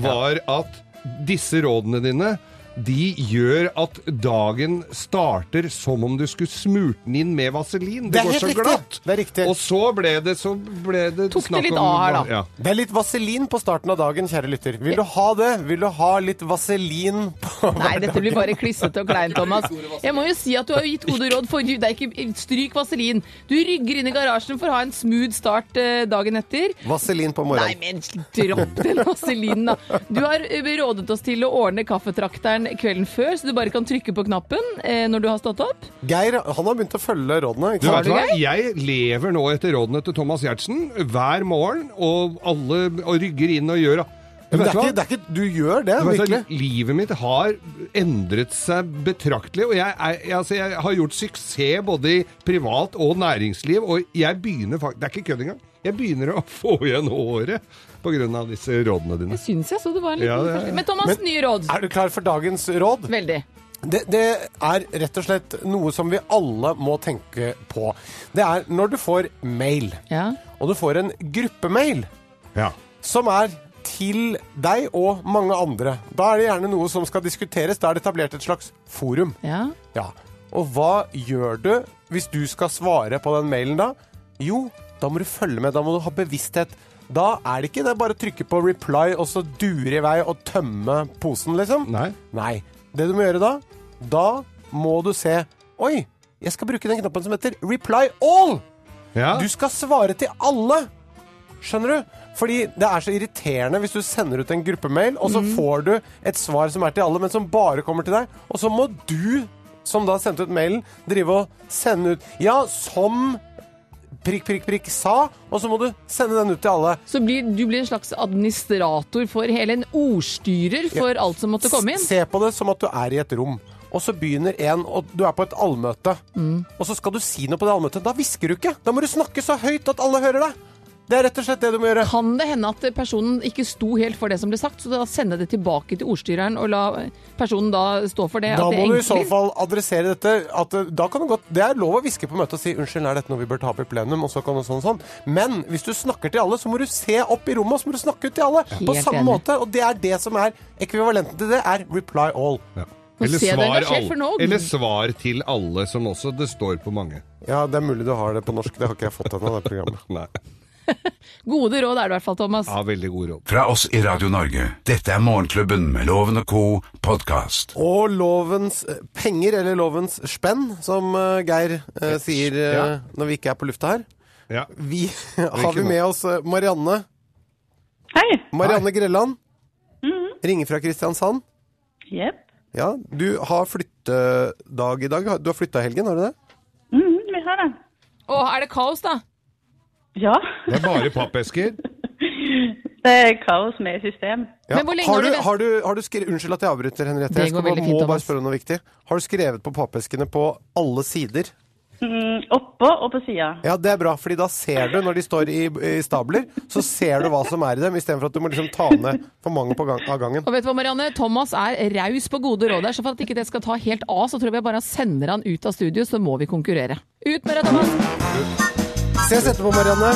[SPEAKER 5] var at disse rådene dine de gjør at dagen starter som om du skulle smurt den inn med vaselin.
[SPEAKER 3] Det
[SPEAKER 5] Det,
[SPEAKER 3] er
[SPEAKER 5] går
[SPEAKER 3] helt
[SPEAKER 5] så
[SPEAKER 3] riktig.
[SPEAKER 5] glatt.
[SPEAKER 3] Det er riktig.
[SPEAKER 5] Og så ble det, så ble det
[SPEAKER 4] Tok det
[SPEAKER 5] snakk
[SPEAKER 4] litt
[SPEAKER 5] om-
[SPEAKER 4] av her, da.
[SPEAKER 5] Ja.
[SPEAKER 3] Det er litt vaselin på starten av dagen, kjære lytter. Vil du ha det? Vil du ha litt vaselin på (laughs)
[SPEAKER 4] Nei, dette blir bare klissete og kleint, Thomas. Jeg må jo si at du har jo gitt gode råd for Det er ikke stryk vaselin. Du rygger inn i garasjen for å ha en smooth start eh, dagen etter.
[SPEAKER 3] Vaselin på
[SPEAKER 4] Nei,
[SPEAKER 3] morgenen.
[SPEAKER 4] men dropp den vaselinen, da. Du har eh, rådet oss til å ordne kaffetrakteren kvelden før, så du bare kan trykke på knappen eh, når du har stått opp.
[SPEAKER 3] Geir han har begynt å følge rådene.
[SPEAKER 5] Du
[SPEAKER 3] Ikke
[SPEAKER 5] vet
[SPEAKER 3] sant?
[SPEAKER 5] hva, jeg lever nå etter rådene til Thomas Gjertsen hver morgen, og alle og rygger inn og gjør
[SPEAKER 3] Men det
[SPEAKER 5] Vet
[SPEAKER 3] er
[SPEAKER 5] du hva?
[SPEAKER 3] ikke, det er ikke, du gjør det,
[SPEAKER 5] Du vet
[SPEAKER 3] virkelig.
[SPEAKER 5] hva, Livet mitt har endret seg betraktelig, og jeg, er, jeg, altså, jeg har gjort suksess både i privat og næringsliv, og jeg begynner faktisk Det er ikke kødd engang. Jeg begynner å (laughs) få igjen håret på grunn av disse rådene dine.
[SPEAKER 4] Jeg syns jeg så det var en liten
[SPEAKER 5] Ja, det er-
[SPEAKER 4] forskjell. Men Thomas,
[SPEAKER 3] Men-
[SPEAKER 4] nye råd.
[SPEAKER 3] Er du klar for dagens råd?
[SPEAKER 4] Veldig.
[SPEAKER 3] Det, det er rett og slett noe som vi alle må tenke på. Det er når du får mail,
[SPEAKER 4] Ja.
[SPEAKER 3] og du får en gruppemail
[SPEAKER 5] Ja.
[SPEAKER 3] som er til deg og mange andre. Da er det gjerne noe som skal diskuteres. Da er det etablert et slags forum.
[SPEAKER 4] ja.
[SPEAKER 3] Ja. Og hva gjør du hvis du skal svare på den mailen da? Jo, da må du følge med, da må du ha bevissthet. Da er det ikke det bare å trykke på reply og så dure i vei og tømme posen, liksom.
[SPEAKER 5] Nei.
[SPEAKER 3] Nei. Det du må gjøre da, da må du se Oi, jeg skal bruke den knappen som heter reply all!
[SPEAKER 5] Ja.
[SPEAKER 3] Du skal svare til alle! Skjønner du? Fordi det er så irriterende hvis du sender ut en gruppemail, og så får du et svar som er til alle, men som bare kommer til deg. Og så må du, som da sendte ut mailen, drive og sende ut Ja, som prikk, prikk, prikk sa, og så må du sende den ut til alle.
[SPEAKER 4] Så blir, du blir en slags administrator for hele en ordstyrer for alt som måtte komme inn.
[SPEAKER 3] Se på det som at du er i et rom. Og så begynner en, og du er på et allmøte. Og så skal du si noe på det allmøtet. Da hvisker du ikke. Da må du snakke så høyt at alle hører deg. Det er rett og slett det du må gjøre.
[SPEAKER 4] Kan det hende at personen ikke sto helt for det som ble sagt, så da sende det tilbake til ordstyreren og la personen da stå for det?
[SPEAKER 3] Da
[SPEAKER 4] at det
[SPEAKER 3] må du i så
[SPEAKER 4] egentlig-
[SPEAKER 3] fall adressere dette. At, eh, da kan du godt, det er lov å hviske på møtet og si 'unnskyld, er dette noe vi bør ta opp i plenum?' og så kan du sånn sånn. Men hvis du snakker til alle, så må du se opp i rommet og så må du snakke ut til alle. På
[SPEAKER 4] Helt
[SPEAKER 3] samme
[SPEAKER 4] enig.
[SPEAKER 3] måte. Og det er det som er ekvivalenten til det, er reply all.
[SPEAKER 5] Ja.
[SPEAKER 4] Nå
[SPEAKER 5] Eller
[SPEAKER 4] ser jeg det
[SPEAKER 5] svar,
[SPEAKER 4] engasjert, for
[SPEAKER 5] alle.
[SPEAKER 4] nå-
[SPEAKER 5] Eller svar til alle, som også det står på mange.
[SPEAKER 3] Ja, det er mulig du har det på norsk. Det har ikke jeg fått ennå, det programmet.
[SPEAKER 5] Nei.
[SPEAKER 4] Gode råd er det i hvert fall, Thomas.
[SPEAKER 5] Ja, veldig gode råd.
[SPEAKER 2] Fra oss i Radio Norge. Dette er Morgenklubben med Loven og co. podkast.
[SPEAKER 3] (laughs) Og lovens eh, penger, eller lovens spenn, som eh, Geir eh, sier eh,
[SPEAKER 5] Ja.
[SPEAKER 3] når vi ikke er på lufta her.
[SPEAKER 5] Ja.
[SPEAKER 3] Vi har vi
[SPEAKER 5] noe.
[SPEAKER 3] med oss eh, Marianne.
[SPEAKER 9] Hei.
[SPEAKER 3] Marianne Grelland. Ringer fra Kristiansand.
[SPEAKER 9] Jepp.
[SPEAKER 3] Ja, du har flyttedag i dag. Du har flytta i helgen, har du det?
[SPEAKER 9] Mm, vi har det.
[SPEAKER 4] Å, er det kaos, da?
[SPEAKER 9] Ja.
[SPEAKER 5] Det er bare pappesker.
[SPEAKER 9] (laughs) Det er kaos med system.
[SPEAKER 3] Ja.
[SPEAKER 4] Men hvor lenge
[SPEAKER 3] har
[SPEAKER 4] har du
[SPEAKER 3] du,
[SPEAKER 4] det?
[SPEAKER 3] har du, har du skrevet, Unnskyld at jeg avbryter, Henriette.
[SPEAKER 4] Det
[SPEAKER 3] Jeg skal
[SPEAKER 4] går
[SPEAKER 3] bare,
[SPEAKER 4] veldig
[SPEAKER 3] må
[SPEAKER 4] fint,
[SPEAKER 3] bare
[SPEAKER 4] Thomas.
[SPEAKER 3] spørre om noe viktig. Har du skrevet på pappeskene på alle sider?
[SPEAKER 9] Mm, oppå og på sida.
[SPEAKER 3] Ja, det er bra, fordi da ser du når de står i, i stabler, så ser du hva som er i dem, istedenfor at du må liksom ta ned for mange på gang, av gangen.
[SPEAKER 4] Og vet du hva, Marianne? Thomas er raus på gode råd her, så for at ikke det skal ta helt av, så tror jeg bare han sender han ut av studio, så må vi konkurrere. Ut med deg, Thomas!
[SPEAKER 3] Ses etterpå, Marianne.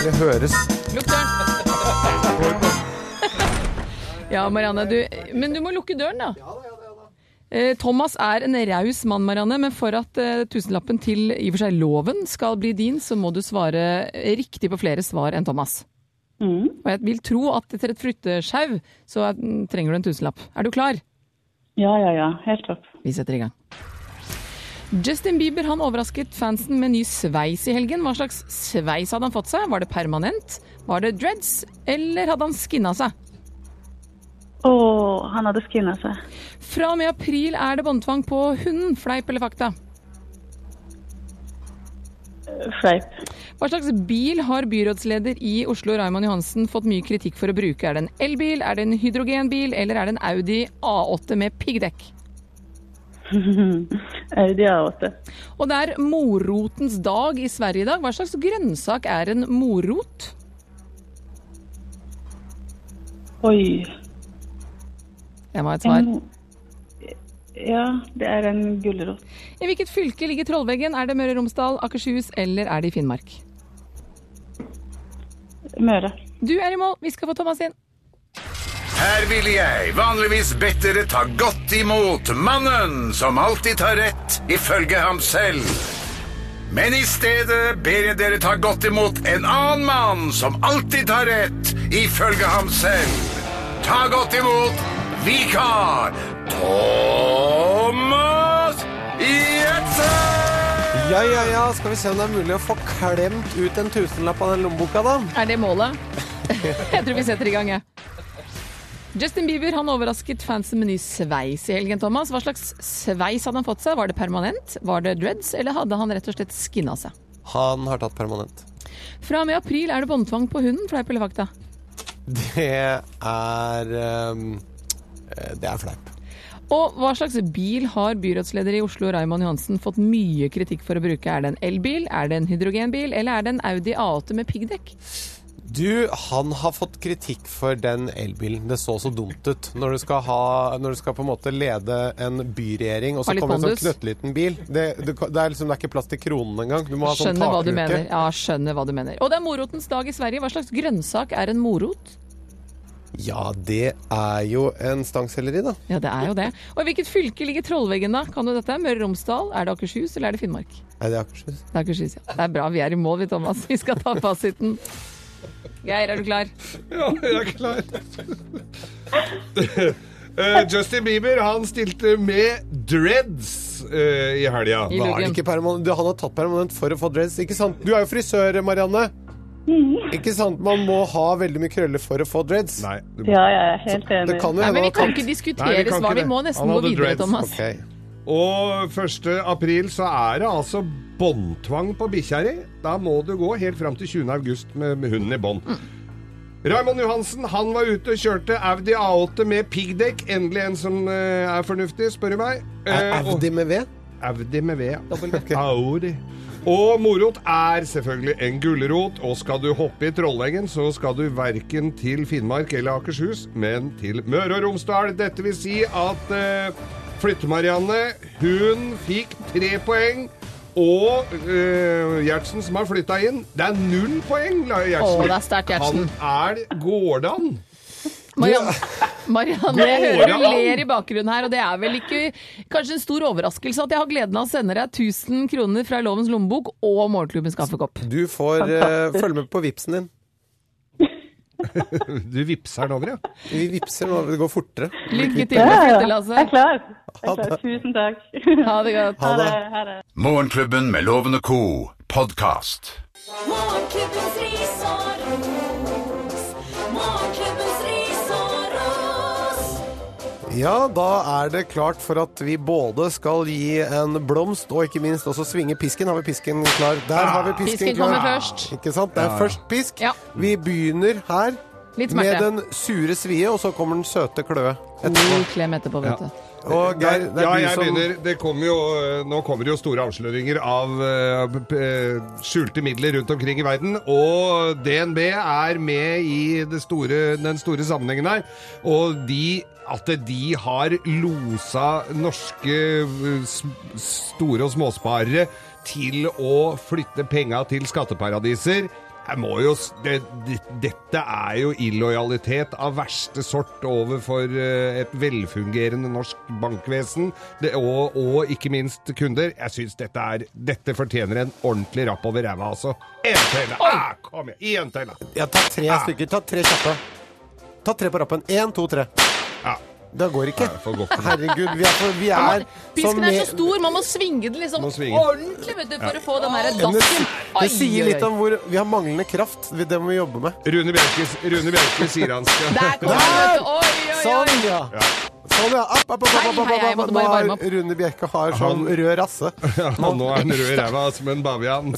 [SPEAKER 3] Eller høres.
[SPEAKER 4] Lukk døren! (laughs) Ja, Marianne, du, men du må lukke døren, da. Eh, Thomas er en raus mann, Marianne, men for at eh, tusenlappen til i og for seg loven skal bli din, så må du svare riktig på flere svar enn Thomas. Og jeg vil tro at etter et flyttesjau, så eh, trenger du en tusenlapp. Er du klar?
[SPEAKER 9] Ja, ja, ja. Helt topp.
[SPEAKER 4] Vi setter i gang. Justin Bieber han overrasket fansen med ny sveis i helgen. Hva slags sveis hadde han fått seg? Var det permanent? Var det dreads? Eller hadde han skinna seg?
[SPEAKER 9] Å, han hadde skinna seg.
[SPEAKER 4] Fra og med april er det båndtvang på hunden. Fleip eller fakta?
[SPEAKER 9] Fleip.
[SPEAKER 4] Hva slags bil har byrådsleder i Oslo Raymond Johansen fått mye kritikk for å bruke? Er det en elbil, er det en hydrogenbil, eller er det en Audi A8 med piggdekk?
[SPEAKER 9] Audi A8.
[SPEAKER 4] Og det er morotens dag i Sverige i dag. Hva slags grønnsak er en morot?
[SPEAKER 9] Oi. Mm.
[SPEAKER 4] Det var et svar.
[SPEAKER 9] Ja, det er en gulrot.
[SPEAKER 4] I hvilket fylke ligger Trollveggen? Er det Møre og Romsdal, Akershus eller er det i Finnmark?
[SPEAKER 9] Møre.
[SPEAKER 4] Du er i mål, vi skal få Thomas inn.
[SPEAKER 2] Her ville jeg vanligvis bedt dere ta godt imot mannen som alltid tar rett, ifølge ham selv. Men i stedet ber jeg dere ta godt imot en annen mann som alltid tar rett, ifølge ham selv. Ta godt imot vikar Thomas Gjertsen!
[SPEAKER 3] Ja, ja, ja. Skal vi se om det er mulig å få klemt ut en tusenlapp av den lommeboka, da.
[SPEAKER 4] Er det målet? (laughs) jeg tror vi setter i gang, jeg. Justin Bieber han overrasket fansen med ny sveis i helgen. Thomas. Hva slags sveis hadde han fått seg? Var det permanent, var det dreads, eller hadde han rett og slett skinna seg?
[SPEAKER 3] Han har tatt permanent.
[SPEAKER 4] Fra og med april er det båndtvang på hunden, fleip eller fakta.
[SPEAKER 3] Det er ehm, eh, Det er fleip.
[SPEAKER 4] Og hva slags bil har byrådsleder i Oslo Raymond Johansen fått mye kritikk for å bruke? Er det en elbil, er det en hydrogenbil, eller er det en Audi A8 med piggdekk?
[SPEAKER 3] Du, han har fått kritikk for den elbilen. Det så så dumt ut. Når du skal, ha, når du skal på en måte lede en byregjering, og
[SPEAKER 4] Ha
[SPEAKER 3] så
[SPEAKER 4] litt
[SPEAKER 3] kommer en sånn
[SPEAKER 4] pondus.
[SPEAKER 3] knøttliten bil. Det, det, det er liksom det er ikke plass til kronen engang. Du må ha sånn
[SPEAKER 4] Skjønner hva du
[SPEAKER 3] takluke.
[SPEAKER 4] mener. Ja, skjønner hva du mener. Og det er morotens dag i Sverige. Hva slags grønnsak er en morot?
[SPEAKER 3] Ja, det er jo en stangselleri, da.
[SPEAKER 4] Ja, det er jo det. Og i hvilket fylke ligger Trollveggen da? Kan du dette? Møre og Romsdal? Er det Akershus, eller er det Finnmark?
[SPEAKER 3] Nei, det er Akershus.
[SPEAKER 4] Det er Akershus, ja. Det er bra vi er i mål, vi, Thomas. Vi skal ta fasiten. Geir, er du klar?
[SPEAKER 5] Ja, jeg er klar. (laughs) Eh, Justin Bieber han stilte med dreads eh, i helga.
[SPEAKER 4] I
[SPEAKER 3] Var det
[SPEAKER 4] luggen.
[SPEAKER 3] ikke permanent? Du, han har tatt permanent for å få dress, ikke sant? Du er jo frisør, Marianne. Ikke sant? Man må ha veldig mye krøller for å få dreads.
[SPEAKER 5] Nei, du må.
[SPEAKER 9] Ja, ja, jeg er helt enig.
[SPEAKER 3] Det kan jo
[SPEAKER 4] Nei,
[SPEAKER 3] hende
[SPEAKER 4] men vi
[SPEAKER 3] han har
[SPEAKER 4] kan ikke
[SPEAKER 3] tatt
[SPEAKER 5] Nei, vi
[SPEAKER 4] diskutere
[SPEAKER 5] kan
[SPEAKER 4] svar.
[SPEAKER 5] ikke
[SPEAKER 4] Vi
[SPEAKER 5] det.
[SPEAKER 4] må
[SPEAKER 5] Han
[SPEAKER 4] nesten gå
[SPEAKER 5] hadde
[SPEAKER 4] videre,
[SPEAKER 5] dreads.
[SPEAKER 4] Thomas.
[SPEAKER 3] Ok.
[SPEAKER 5] Og 1. april så er det altså båndtvang på bikkja di. Da må du gå helt fram til 20. august med, med hunden i bånd. Raymond Johansen han var ute og kjørte Audi A8 med piggdekk. Endelig en som eh, er fornuftig, spør du meg.
[SPEAKER 3] Er
[SPEAKER 5] Eh, og-
[SPEAKER 3] Audi med ved?
[SPEAKER 5] Audi med V. (laughs) Audi. Og morot er selvfølgelig en gulrot, og skal du hoppe i Trollhengen, så skal du verken til Finnmark eller Akershus, men til Møre og Romsdal. Dette vil si at eh, Flytte-Marianne, hun fikk tre poeng. Og eh, Gjertsen, som har flytta inn Det er null poeng, la Gjertsen.
[SPEAKER 4] Å, det er sterkt, Gjertsen.
[SPEAKER 5] Han er Går det an?
[SPEAKER 4] Marianne, Marianne, jeg
[SPEAKER 5] Går
[SPEAKER 4] hører
[SPEAKER 5] det
[SPEAKER 4] du
[SPEAKER 5] an?
[SPEAKER 4] ler i bakgrunnen her, og det er vel ikke kanskje en stor overraskelse at jeg har gleden av å sende deg 1000 kroner fra Lovens lommebok og Morgenklubbens kaffekopp.
[SPEAKER 3] Du får eh, følge med på vipsen din.
[SPEAKER 5] Du vipser den over, ja.
[SPEAKER 3] Vi vipser nå, det går fortere.
[SPEAKER 4] Lykke til
[SPEAKER 9] Ja,
[SPEAKER 4] med
[SPEAKER 9] ja, ja.
[SPEAKER 4] flyttet,
[SPEAKER 9] Jeg
[SPEAKER 4] Lasse.
[SPEAKER 9] er klar. Jeg
[SPEAKER 3] Ha
[SPEAKER 9] er klar.
[SPEAKER 3] det.
[SPEAKER 9] Tusen takk.
[SPEAKER 4] Ha det godt.
[SPEAKER 3] Ha det.
[SPEAKER 9] Ha det.
[SPEAKER 2] Morgenklubben med Loven og Co. podkast.
[SPEAKER 10] Morgenklubbens ris og ros. Morgenklubbens ris og ros.
[SPEAKER 3] Ja, da er det klart for at vi både skal gi en blomst og ikke minst også svinge pisken. Har vi pisken klar? Der har vi pisken,
[SPEAKER 4] Fisken
[SPEAKER 3] klar.
[SPEAKER 4] kommer først.
[SPEAKER 3] Ikke sant? Det er først pisk.
[SPEAKER 4] Ja.
[SPEAKER 3] Vi begynner her
[SPEAKER 4] Litt
[SPEAKER 3] med
[SPEAKER 4] smerte.
[SPEAKER 3] den sure svie, og så kommer den søte kløe. Mm.
[SPEAKER 4] God klem etterpå, vet du.
[SPEAKER 3] Og Geir, det er
[SPEAKER 5] Eh, ja,
[SPEAKER 3] du
[SPEAKER 5] jeg
[SPEAKER 3] som
[SPEAKER 5] begynner. Det kommer jo, eh, nå kommer det jo store avsløringer av eh, p- eh, skjulte midler rundt omkring i verden. Og DNB er med i det store, den store sammenhengen her. Og de at de har losa norske eh, s- store og småsparere til å flytte penga til skatteparadiser. Jeg må jo, s- det, det, dette er jo illojalitet av verste sort overfor eh, et velfungerende norsk bankvesen, det, og, og ikke minst kunder. Jeg syns dette, er- dette fortjener en ordentlig rapp over ræva, altså. En til! da. Ah, kom igjen! En til! da.
[SPEAKER 3] Ja, ta tre stykker. Ta tre kjappe. Ta tre på rappen. Én, to, tre.
[SPEAKER 5] Ja.
[SPEAKER 3] Det går ikke.
[SPEAKER 5] Nei, det får gå ikke.
[SPEAKER 3] Herregud, vi er, for, vi er
[SPEAKER 4] Pisken er
[SPEAKER 3] med-
[SPEAKER 4] så stor, man må svinge den liksom
[SPEAKER 5] Må svinge.
[SPEAKER 4] ordentlig vet du, for å få den der
[SPEAKER 3] Men det,
[SPEAKER 4] dassen. Ai,
[SPEAKER 3] det sier
[SPEAKER 4] ai,
[SPEAKER 3] litt
[SPEAKER 4] ai.
[SPEAKER 3] om hvor vi har manglende kraft. Det må vi jobbe med.
[SPEAKER 5] Rune Bjerke, Rune Bjerke sier han skal
[SPEAKER 4] Der
[SPEAKER 5] (laughs)
[SPEAKER 4] kom den! vet du. Oi, oi,
[SPEAKER 3] Sånn,
[SPEAKER 4] oi.
[SPEAKER 3] ja. Sånn, ja. App, app, app, app,
[SPEAKER 4] Hei,
[SPEAKER 3] app, app,
[SPEAKER 4] hei, jeg
[SPEAKER 3] app,
[SPEAKER 4] måtte
[SPEAKER 3] app.
[SPEAKER 4] bare
[SPEAKER 3] Nå
[SPEAKER 4] varme
[SPEAKER 3] har
[SPEAKER 4] opp.
[SPEAKER 3] Rune Bjerke har sånn rød rasse.
[SPEAKER 5] (laughs) Ja, nå
[SPEAKER 3] (laughs)
[SPEAKER 5] er han rød i ræva som en bavian.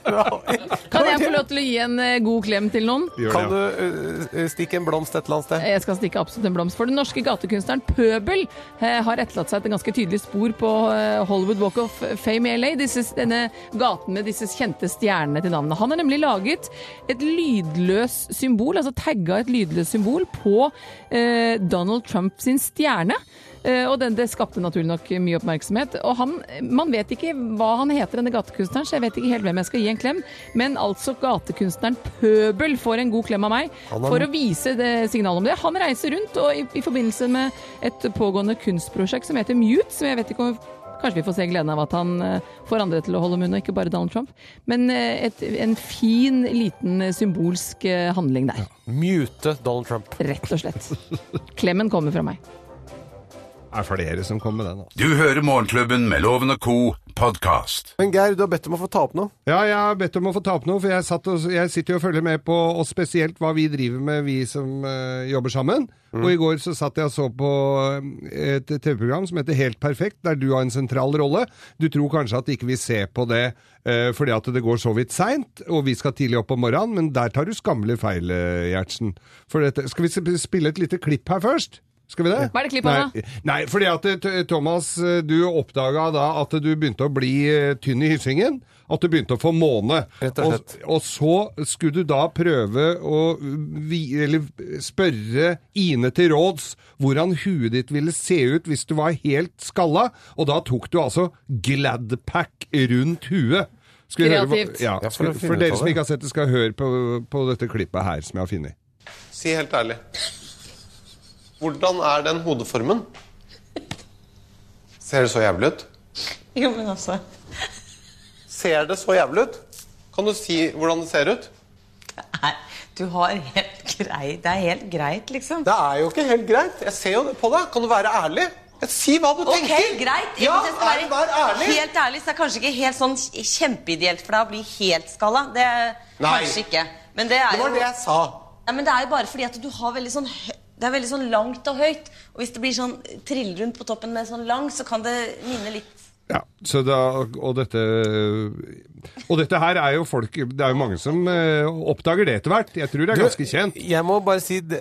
[SPEAKER 4] Kan jeg få lov til å gi en eh, god klem til noen?
[SPEAKER 5] Gjør
[SPEAKER 3] Kan du
[SPEAKER 5] det.
[SPEAKER 3] eh, stikke en blomst et eller annet sted?
[SPEAKER 4] Jeg skal stikke absolutt en blomst for den norske gatekunstneren Pøbel eh, har etterlatt seg et ganske tydelig spor på eh, Hollywood Walk of Fame i LA, disse, denne gaten med disse kjente stjernene til navnet. Han har nemlig laget et lydløs symbol, altså tagga et lydløst symbol på eh, Donald Trump sin stjerne. Eh, Og den, det skapte naturlig nok mye oppmerksomhet. Og han, man vet ikke hva han heter, denne gatekunstneren, så jeg vet ikke helt hvem jeg skal gi en klem. Men altså, gatekunstneren Pøbel får en god klem av meg
[SPEAKER 3] Han er-
[SPEAKER 4] for å vise det, signalet om det. Han reiser rundt, og i, i forbindelse med et pågående kunstprosjekt som heter Mute, som jeg vet ikke om Kanskje vi får se gleden av at han eh, får andre til å holde munn, og ikke bare Donald Trump. Men eh, et, en fin, liten eh, symbolsk eh, handling der.
[SPEAKER 3] Mute Donald Trump.
[SPEAKER 4] Rett og slett. Klemmen kommer fra meg.
[SPEAKER 5] er flere som kommer med den. Altså.
[SPEAKER 2] Du hører Morgenklubben med Loven og Co. podkast.
[SPEAKER 3] Men Geir, du har bedt om å få ta opp noe.
[SPEAKER 5] Ja, jeg har bedt om å få ta opp noe, for jeg, satt og, jeg sitter jo og følger med på og spesielt hva vi driver med, vi som eh, jobber sammen. Og i går så satt jeg og så på eh, et TV-program som heter Helt perfekt, der du har en sentral rolle. Du tror kanskje at ikke vi ser på det eh, fordi at det går så vidt seint, og vi skal tidlig opp om morgenen, men der tar du skammelig feil, eh, Gjertsen. For dette, skal vi sp- spille et lite klipp her først? Skal vi det?
[SPEAKER 4] Hva er det klippet av, da?
[SPEAKER 5] Nei, Nei, fordi at eh, T- Thomas, eh, du oppdaga da at du begynte å bli eh, tynn i hyssingen. At du begynte å få måne.
[SPEAKER 3] Rett og slett.
[SPEAKER 5] Og, og så skulle du da prøve å vi, eller spørre Ine til råds hvordan huet ditt ville se ut hvis du var helt skalla, og da tok du altså Gladpack rundt huet. Skal vi høre hva-
[SPEAKER 4] Kreativt.
[SPEAKER 5] Ja,
[SPEAKER 3] Ja, for å
[SPEAKER 5] for,
[SPEAKER 3] finne
[SPEAKER 5] for
[SPEAKER 3] ut
[SPEAKER 5] dere
[SPEAKER 3] av
[SPEAKER 5] som
[SPEAKER 3] det.
[SPEAKER 5] ikke har sett det, skal høre på, på dette klippet her som jeg har funnet.
[SPEAKER 3] Si helt ærlig. Hvordan er den hodeformen? Ser det så jævlig ut?
[SPEAKER 9] Jo, men altså
[SPEAKER 3] Ser det så jævlig ut? Kan du si hvordan det ser ut?
[SPEAKER 9] Nei, du har helt grei Det er helt greit, liksom.
[SPEAKER 3] Det er jo ikke helt greit. Jeg ser jo det på deg. Kan du være ærlig? Si hva du
[SPEAKER 9] Ok,
[SPEAKER 3] tenker.
[SPEAKER 9] greit.
[SPEAKER 3] Ja,
[SPEAKER 9] Jeg skal
[SPEAKER 3] er, vær ærlig.
[SPEAKER 9] Helt ærlig, så er det kanskje ikke helt sånn kjempeideelt for deg å bli helt skalla. Det er
[SPEAKER 3] Nei.
[SPEAKER 9] kanskje ikke. Men det er
[SPEAKER 3] Det
[SPEAKER 9] jo
[SPEAKER 3] var det jeg sa.
[SPEAKER 9] Nei, men det er jo bare fordi at du har veldig sånn hø- det er veldig sånn langt og høyt. Og hvis det blir sånn trill rundt på toppen med sånn lang, så kan det minne litt
[SPEAKER 5] Ja, så da, og, dette, og dette her er jo folk Det er jo mange som eh, oppdager det etter hvert. Jeg tror det er ganske kjent.
[SPEAKER 3] Jeg må bare si det,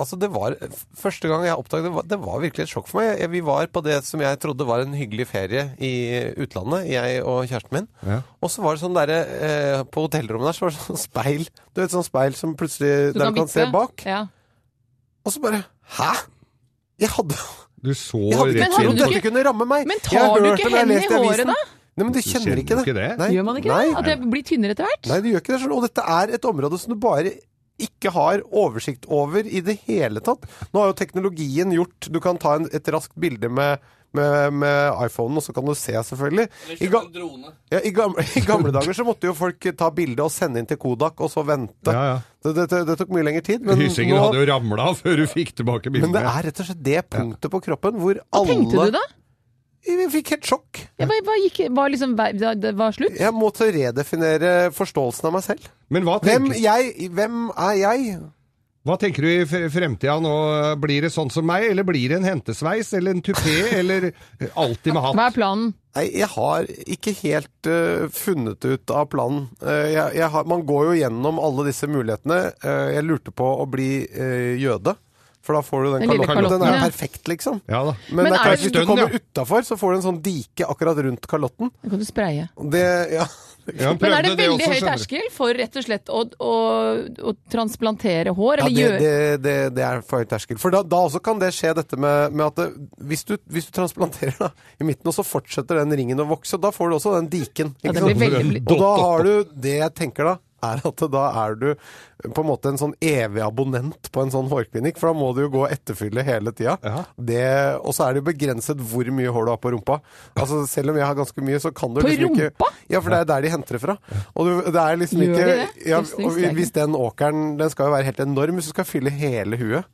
[SPEAKER 3] altså det var Første gang jeg oppdaget det, var- det var virkelig et sjokk for meg. Jeg- Vi var på det som jeg trodde var en hyggelig ferie i utlandet, jeg og kjæresten min.
[SPEAKER 5] Ja.
[SPEAKER 3] Og så var det sånn derre eh, På hotellrommet der så var det sånn speil. Du vet sånn speil som plutselig Der du kan se
[SPEAKER 4] vippe.
[SPEAKER 3] bak.
[SPEAKER 4] Ja.
[SPEAKER 3] Og så bare Hæ? Jeg hadde
[SPEAKER 5] Du så
[SPEAKER 3] Jeg hadde
[SPEAKER 5] rett
[SPEAKER 3] ikke
[SPEAKER 4] hadde
[SPEAKER 3] trodd
[SPEAKER 5] rundt
[SPEAKER 4] du
[SPEAKER 3] at det kunne ramme meg.
[SPEAKER 4] Men
[SPEAKER 3] Jeg har
[SPEAKER 4] tar du
[SPEAKER 3] hørt
[SPEAKER 4] ikke
[SPEAKER 3] det når jeg
[SPEAKER 4] hendene i
[SPEAKER 3] leste
[SPEAKER 4] håret,
[SPEAKER 3] avisen.
[SPEAKER 4] da?
[SPEAKER 3] Nei, men du kjenner ikke det.
[SPEAKER 5] ikke det?
[SPEAKER 3] Nei.
[SPEAKER 4] Gjør man ikke
[SPEAKER 3] Nei.
[SPEAKER 4] det? At det blir tynnere etter hvert?
[SPEAKER 3] Nei, du gjør ikke det. skjønner du. Og dette er et område som du bare ikke har oversikt over i det hele tatt. Nå har jo teknologien gjort Du kan ta en, et raskt bilde med med, med iPhonen, og så kan du se, selvfølgelig. I, ga ja, i, gamle, (laughs) I gamle dager så måtte jo folk ta bilde og sende inn til Kodak, og så vente.
[SPEAKER 5] Ja, ja.
[SPEAKER 3] Det, det, det tok mye lengre tid. Men,
[SPEAKER 5] Hyssingen hadde
[SPEAKER 3] nå,
[SPEAKER 5] jo ramla (laughs) før du fikk
[SPEAKER 3] (laughs)
[SPEAKER 5] tilbake
[SPEAKER 3] men det
[SPEAKER 5] bildene.
[SPEAKER 3] er rett og slett det punktet på kroppen hvor
[SPEAKER 4] Hva
[SPEAKER 3] alle
[SPEAKER 4] tenkte du da?
[SPEAKER 3] Jeg fikk helt sjokk.
[SPEAKER 4] Ja, hva, hva gikk, var liksom, hva- det var slutt?
[SPEAKER 3] Jeg måtte redefinere forståelsen av meg selv.
[SPEAKER 5] Men hva
[SPEAKER 3] Hvem,
[SPEAKER 5] tenker,
[SPEAKER 3] jeg, hvem er jeg?
[SPEAKER 5] hva tenker du i fre- fremtida nå? Blir det sånn som meg, eller blir det en hentesveis, eller en tupé, eller eh, alltid med
[SPEAKER 4] Hva
[SPEAKER 5] hatt?
[SPEAKER 4] er planen?
[SPEAKER 3] Nei, jeg har ikke helt eh, funnet ut av planen. Eh, jeg, jeg har, man går jo gjennom alle disse mulighetene. Eh, jeg lurte på å bli eh, jøde, for da får du den,
[SPEAKER 4] Den lille
[SPEAKER 3] kalotten. Den er
[SPEAKER 4] kalotten, ja.
[SPEAKER 3] jo perfekt, liksom.
[SPEAKER 5] Ja da.
[SPEAKER 3] Men,
[SPEAKER 4] Men
[SPEAKER 3] det er
[SPEAKER 4] er
[SPEAKER 3] klart,
[SPEAKER 4] det-
[SPEAKER 3] hvis du
[SPEAKER 5] Stønn,
[SPEAKER 3] kommer
[SPEAKER 5] ja.
[SPEAKER 3] utafor, så får du en sånn dike akkurat rundt kalotten.
[SPEAKER 4] Da kan du spraye.
[SPEAKER 3] Det, ja,
[SPEAKER 5] Ja, han
[SPEAKER 4] Men er det
[SPEAKER 5] prøvde
[SPEAKER 4] veldig
[SPEAKER 5] også,
[SPEAKER 4] høy
[SPEAKER 5] skjønner du.
[SPEAKER 4] terskel for rett og slett å, å, å transplantere hår?
[SPEAKER 3] Ja,
[SPEAKER 4] Eller
[SPEAKER 3] det,
[SPEAKER 4] gjøre
[SPEAKER 3] det, det, det er for høy terskel. For da, da også kan det skje dette med, med at det, hvis, du, hvis du transplanterer da, i midten, og så fortsetter den ringen å vokse, da får du også den diken.
[SPEAKER 4] Ja,
[SPEAKER 3] ikke
[SPEAKER 4] det
[SPEAKER 3] sant?
[SPEAKER 4] blir veldig-
[SPEAKER 3] Og da har du det jeg tenker da, er at da er du på en måte en sånn evig abonnent på en sånn hårklinikk, for da må du jo gå og etterfylle hele tida.
[SPEAKER 5] Ja.
[SPEAKER 3] Det- Og så er det jo begrenset hvor mye hår du har på rumpa. Altså Selv om jeg har ganske mye, så kan du
[SPEAKER 4] På
[SPEAKER 3] liksom ikke
[SPEAKER 4] rumpa?
[SPEAKER 3] Ja, for det er der de henter det fra. Og du, det er liksom
[SPEAKER 4] Gjør
[SPEAKER 3] ikke
[SPEAKER 4] de det?
[SPEAKER 3] Ja,
[SPEAKER 4] Hvis- hvis
[SPEAKER 3] og
[SPEAKER 4] det er
[SPEAKER 3] hvis den åkeren Den skal jo være helt enorm hvis du skal fylle hele huet.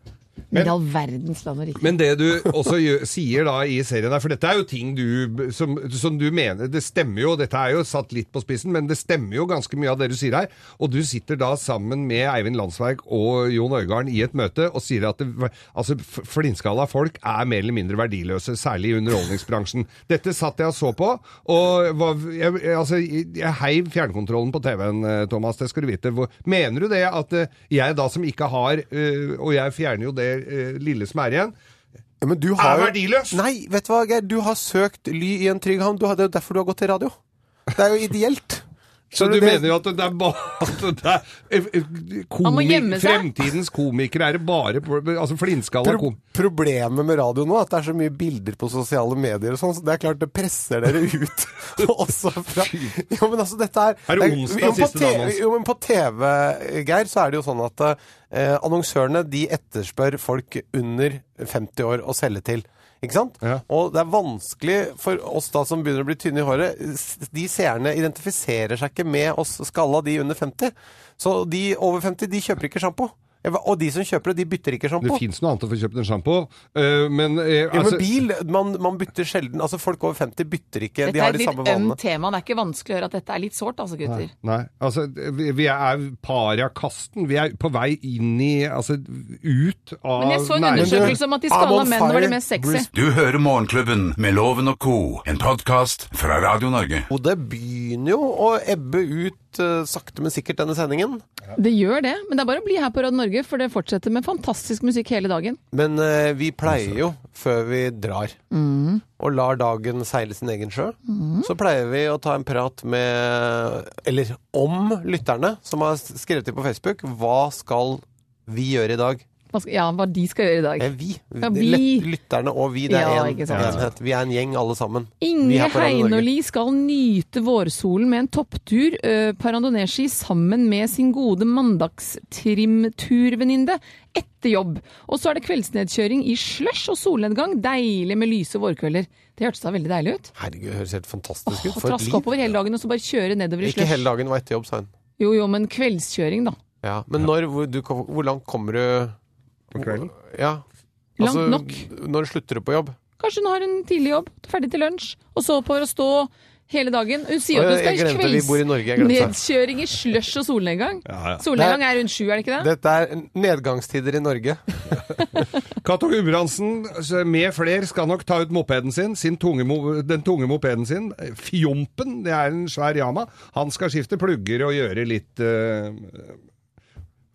[SPEAKER 4] Men i all verdens land og rike.
[SPEAKER 5] Men det du også gjør, sier da i serien her, for dette er jo ting du som, som du mener Det stemmer jo, dette er jo satt litt på spissen, men det stemmer jo ganske mye av det du sier her. Og du sitter da sammen med Eivind Landsverk og Jon Øigarden i et møte og sier at det, altså, f- flintskalla folk er mer eller mindre verdiløse, særlig i underholdningsbransjen. Dette satt jeg og så på, og var, jeg, jeg- altså, jeg heiv fjernkontrollen på TV-en, eh, Thomas, det skal du vite. Hvor, mener du det at eh, jeg da som ikke har, eh, og jeg fjerner jo det eh, lille som er igjen,
[SPEAKER 3] Ja, men du har
[SPEAKER 5] Er
[SPEAKER 3] jo-
[SPEAKER 5] verdiløs!
[SPEAKER 3] Nei, vet du hva, Geir? Du har søkt ly i en trygg havn. Du har- Det er jo derfor du har gått til radio. Det er jo ideelt.
[SPEAKER 5] Så du
[SPEAKER 3] det-
[SPEAKER 5] mener jo at det er bare (laughs) at det er, eh,
[SPEAKER 4] Han må
[SPEAKER 5] komi,
[SPEAKER 4] gjemme seg.
[SPEAKER 5] Fremtidens komikere er det bare altså flinskalla
[SPEAKER 3] Pro
[SPEAKER 5] kom...
[SPEAKER 3] problemet med radio nå er at det er så mye bilder på sosiale medier og sånn, så det er klart det presser
[SPEAKER 5] (laughs)
[SPEAKER 3] dere ut. også fra Jo, men altså, dette er
[SPEAKER 5] Er det onsdag
[SPEAKER 3] jo, men på
[SPEAKER 5] siste dagen
[SPEAKER 3] te-
[SPEAKER 5] hans?
[SPEAKER 3] Jo, men på TV, Geir, så er det jo sånn at eh, annonsørene de etterspør folk under 50 år å selge til. Ikke sant?
[SPEAKER 5] Ja.
[SPEAKER 3] Og det er vanskelig for oss da som begynner å bli tynne i håret. s- De seerne identifiserer seg ikke med oss skalla, de under 50. Så de over 50, de kjøper ikke sjampo. Og de som kjøper det, de bytter ikke
[SPEAKER 5] Det
[SPEAKER 3] sjampo.
[SPEAKER 5] fins noe annet å få kjøpt enn sjampo, eh, men eh,
[SPEAKER 3] Ja,
[SPEAKER 5] altså,
[SPEAKER 3] men bil, man, man bytter sjelden Altså folk over 50 bytter ikke, de
[SPEAKER 4] Dette
[SPEAKER 3] har
[SPEAKER 4] er
[SPEAKER 3] de
[SPEAKER 4] et
[SPEAKER 3] samme
[SPEAKER 4] litt ømt
[SPEAKER 3] vanene.
[SPEAKER 4] tema. Det er ikke vanskelig å høre at dette er litt sårt, altså, gutter.
[SPEAKER 5] Nei. Altså, vi, vi er pariakasten. Vi er på vei inn i Altså ut av
[SPEAKER 4] Men jeg så en
[SPEAKER 5] næringen.
[SPEAKER 4] undersøkelse om liksom at de
[SPEAKER 3] I'm
[SPEAKER 4] skalla
[SPEAKER 3] on
[SPEAKER 4] menn var
[SPEAKER 3] fire,
[SPEAKER 4] de mest sexy.
[SPEAKER 3] Bruce.
[SPEAKER 2] Du hører Morgenklubben med Loven og Co. En podkast fra Radio Norge.
[SPEAKER 3] Og det begynner jo å ebbe ut eh, sakte, men sikkert denne sendingen.
[SPEAKER 4] Det gjør det, men det er bare å bli her på Radio Norge, for det fortsetter med fantastisk musikk hele dagen.
[SPEAKER 3] Men eh, vi pleier jo, før vi drar,
[SPEAKER 4] Mm.
[SPEAKER 3] og lar dagen seile sin egen sjø, så pleier vi å ta en prat med Eller om lytterne som har skrevet til på Facebook. Hva skal vi gjøre i dag?
[SPEAKER 4] Hva skal, ja, hva de skal gjøre i dag.
[SPEAKER 3] Eh, vi.
[SPEAKER 4] Ja, vi.
[SPEAKER 3] Lytterne og vi. Det er
[SPEAKER 4] Ja,
[SPEAKER 3] en
[SPEAKER 4] ikke sant.
[SPEAKER 3] enhet. Vi er en gjeng, alle sammen. Vi
[SPEAKER 4] Inge
[SPEAKER 3] her på Radio Norge.
[SPEAKER 4] Heinoli skal nyte vårsolen med en topptur eh, på randoneeski sammen med sin gode mandagstrimturvenninne etter jobb. Og så er det kveldsnedkjøring i slush og solnedgang. Deilig med lyse vårkvelder. Det hørtes da veldig deilig ut.
[SPEAKER 3] Herregud, det høres helt fantastisk ut.
[SPEAKER 4] Å
[SPEAKER 3] For et
[SPEAKER 4] traske oppover
[SPEAKER 3] liv.
[SPEAKER 4] hele dagen og så bare kjøre nedover i
[SPEAKER 3] Ikke hele
[SPEAKER 4] slush.
[SPEAKER 3] dagen var etter jobb, sa hun.
[SPEAKER 4] Jo jo, men kveldskjøring, da.
[SPEAKER 3] Ja. Men når, hvor, du, hvor langt kommer du
[SPEAKER 5] På kvelden.
[SPEAKER 3] Ja.
[SPEAKER 4] Langt
[SPEAKER 3] altså,
[SPEAKER 4] nok.
[SPEAKER 3] Når slutter du på jobb?
[SPEAKER 4] Kanskje hun har en tidlig jobb, ferdig til lunsj, og så oppover og stå hele dagen. Hun sier jo
[SPEAKER 3] Å,
[SPEAKER 4] at
[SPEAKER 3] jeg
[SPEAKER 4] hun skal
[SPEAKER 3] glemte, vi bor i Norge, jeg glemte.
[SPEAKER 4] kveldsnedkjøring i slush og solnedgang.
[SPEAKER 5] Ja, ja.
[SPEAKER 4] Solnedgang er rundt sju, er det ikke det?
[SPEAKER 3] Dette er nedgangstider i Norge.
[SPEAKER 5] Cato Gudbrandsen så med fler skal nok ta ut mopeden sin, sin tunge, mo- den tunge mopeden sin. Fjompen, det er en svær Yama. Han skal skifte plugger og gjøre litt eh,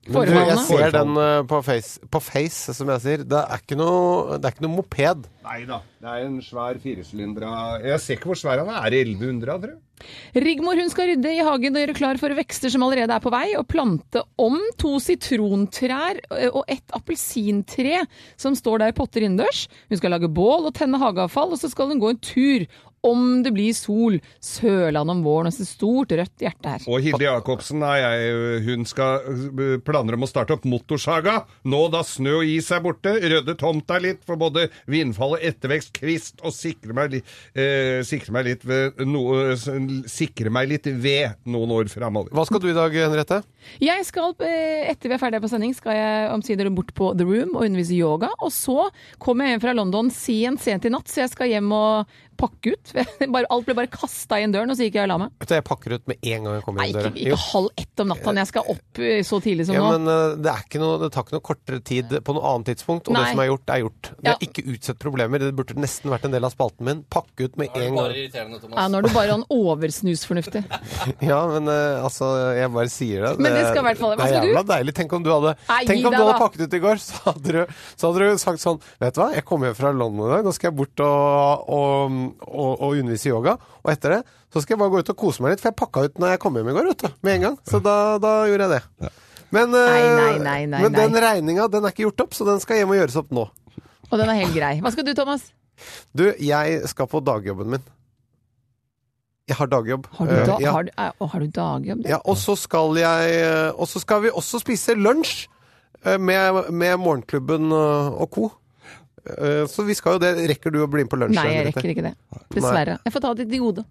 [SPEAKER 3] Du, jeg
[SPEAKER 4] Forholdene.
[SPEAKER 3] ser den eh, på face, på face, som jeg sier. Det er ikke noe, det er ikke noe moped.
[SPEAKER 5] Nei da. Det er en svær firesylindra Jeg ser ikke hvor svær han er. 1100, tror jeg.
[SPEAKER 4] Rigmor hun skal rydde i hagen og gjøre klar for vekster som allerede er på vei, og plante om to sitrontrær eh, og ett appelsintre som står der potter innendørs. Hun skal lage bål og tenne hageavfall, og så skal hun gå en tur. Om det blir sol. Sørlandet om våren. Og så stort rødt hjerte her.
[SPEAKER 5] Og Hilde Jacobsen er jeg, hun skal øh, planer om å starte opp motorsaga. Nå da snø og is er borte, rydde tomta litt for både vindfall og ettervekst, kvist, og sikre meg, li, eh, sikre meg litt ved noe Sikre meg litt ved noen år framover.
[SPEAKER 3] Hva skal du i dag, Henriette?
[SPEAKER 4] Jeg skal, eh, etter vi er ferdige på sending, skal jeg omsider bort på The Room og undervise i yoga. Og så kommer jeg hjem fra London sent, sent i natt, så jeg skal hjem og pakke ut. (laughs) Bare, alt ble bare kasta inn døren, og så gikk jeg og la meg.
[SPEAKER 3] Vet du, Jeg pakker ut med en gang jeg kommer
[SPEAKER 4] Nei,
[SPEAKER 3] inn
[SPEAKER 4] ikke,
[SPEAKER 3] døra. Jo.
[SPEAKER 4] ikke halv ett om natta når jeg skal opp eh, så tidlig som
[SPEAKER 3] Ja,
[SPEAKER 4] nå.
[SPEAKER 3] men eh, det, er ikke noe, det tar ikke noe kortere tid på noe annet tidspunkt. Og
[SPEAKER 4] Nei.
[SPEAKER 3] det som er gjort, er gjort. Det
[SPEAKER 4] Ja.
[SPEAKER 3] er ikke utsett problemer. Det burde nesten vært en del av spalten min. Pakke ut med en gang.
[SPEAKER 4] Ja, nå er du bare sånn oversnusfornuftig.
[SPEAKER 3] Ja, men eh, altså, jeg bare sier det.
[SPEAKER 4] Men det skal i hvert fall- hva
[SPEAKER 3] det er
[SPEAKER 4] skal du?
[SPEAKER 3] jævla deilig. Tenk om du hadde,
[SPEAKER 4] Nei, gi
[SPEAKER 3] tenk om
[SPEAKER 4] deg
[SPEAKER 3] du hadde
[SPEAKER 4] da.
[SPEAKER 3] pakket ut i går, (laughs) så hadde, du, så hadde du sagt sånn Vet du hva, jeg kom hjem fra London i dag, nå skal jeg bort og, og, og, og undervise i yoga. Og etter det så skal jeg bare gå ut og kose meg litt, for jeg pakka ut når jeg kom hjem i går, vet du. Med en gang. Så da, da gjorde jeg det. Men,
[SPEAKER 4] Nei,
[SPEAKER 3] eh,
[SPEAKER 4] nei, nei, nei,
[SPEAKER 3] men den
[SPEAKER 4] nei.
[SPEAKER 3] regninga, den er ikke gjort opp, så den skal hjem og gjøres opp nå.
[SPEAKER 4] Og den er helt grei. Hva skal du, Thomas?
[SPEAKER 3] Du, jeg skal på dagjobben min. Jeg har dagjobb.
[SPEAKER 4] Har du,
[SPEAKER 3] Eh,
[SPEAKER 4] da,
[SPEAKER 3] ja.
[SPEAKER 4] har, du- eh, å, har du dagjobb? du?
[SPEAKER 3] Ja, og så skal jeg eh, Og så skal vi også spise lunsj eh, med, med morgenklubben eh, og co. Eh, Så vi skal jo det. Rekker du å bli med på lunsj?
[SPEAKER 4] Nei, jeg rekker ikke det. Dessverre. Jeg får ta det i hodet.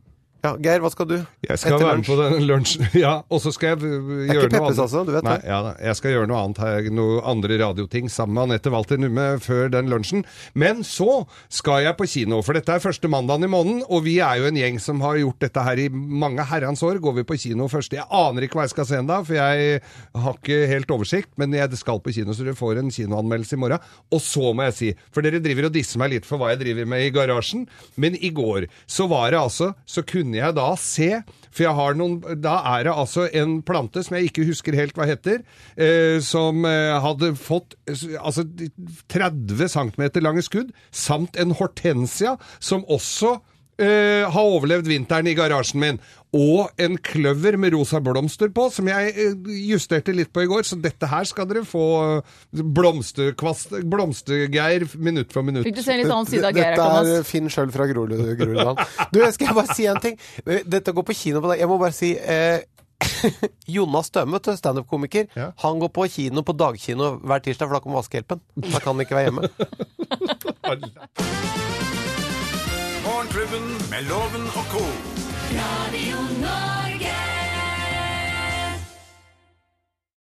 [SPEAKER 3] Ja, Geir, hva skal du?
[SPEAKER 5] Jeg skal være med på den lunsjen. (laughs) Ja, og så skal jeg øh, gjøre noe
[SPEAKER 3] Peppes, altså, du vet
[SPEAKER 5] Nei,
[SPEAKER 3] det.
[SPEAKER 5] ja, da. Jeg skal gjøre noe annet her, noe andre radioting sammen med Anette Walter Numme før den lunsjen. Men så skal jeg på kino, for dette er første mandagen i måneden, og vi er jo en gjeng som har gjort dette her i mange herrens år. Går vi på kino først? Jeg aner ikke hva jeg skal se ennå, for jeg har ikke helt oversikt, men jeg skal på kino, så dere får en kinoanmeldelse i morgen. Og så må jeg si, for dere driver og disser meg litt for hva jeg driver med i garasjen, men i går så var det altså, så kunne jeg da se for jeg har noen, da er det altså en plante som jeg ikke husker helt hva heter, eh, som eh, hadde fått eh, altså, 30 cm lange skudd, samt en hortensia som også eh, har overlevd vinteren i garasjen min. Og en kløver med rosa blomster på, som jeg eh, justerte litt på i går. Så dette her skal dere få eh, blomsterkvast, blomstergeir minutt for minutt.
[SPEAKER 4] Fikk du se en litt annen side av Geir her,
[SPEAKER 3] Dette er
[SPEAKER 4] Thomas?
[SPEAKER 3] Finn sjøl fra Grorud- Groruddalen. Du, jeg skal bare si en ting. Dette går på kino på deg. Jeg må bare si eh, (laughs) Jonas Støme, vet du, standup-komiker,
[SPEAKER 5] Ja.
[SPEAKER 3] han går på kino på dagkino hver tirsdag, for da kommer vaskehjelpen. Da kan han ikke være hjemme.
[SPEAKER 2] Morgenklubben med Loven og co.
[SPEAKER 10] Radio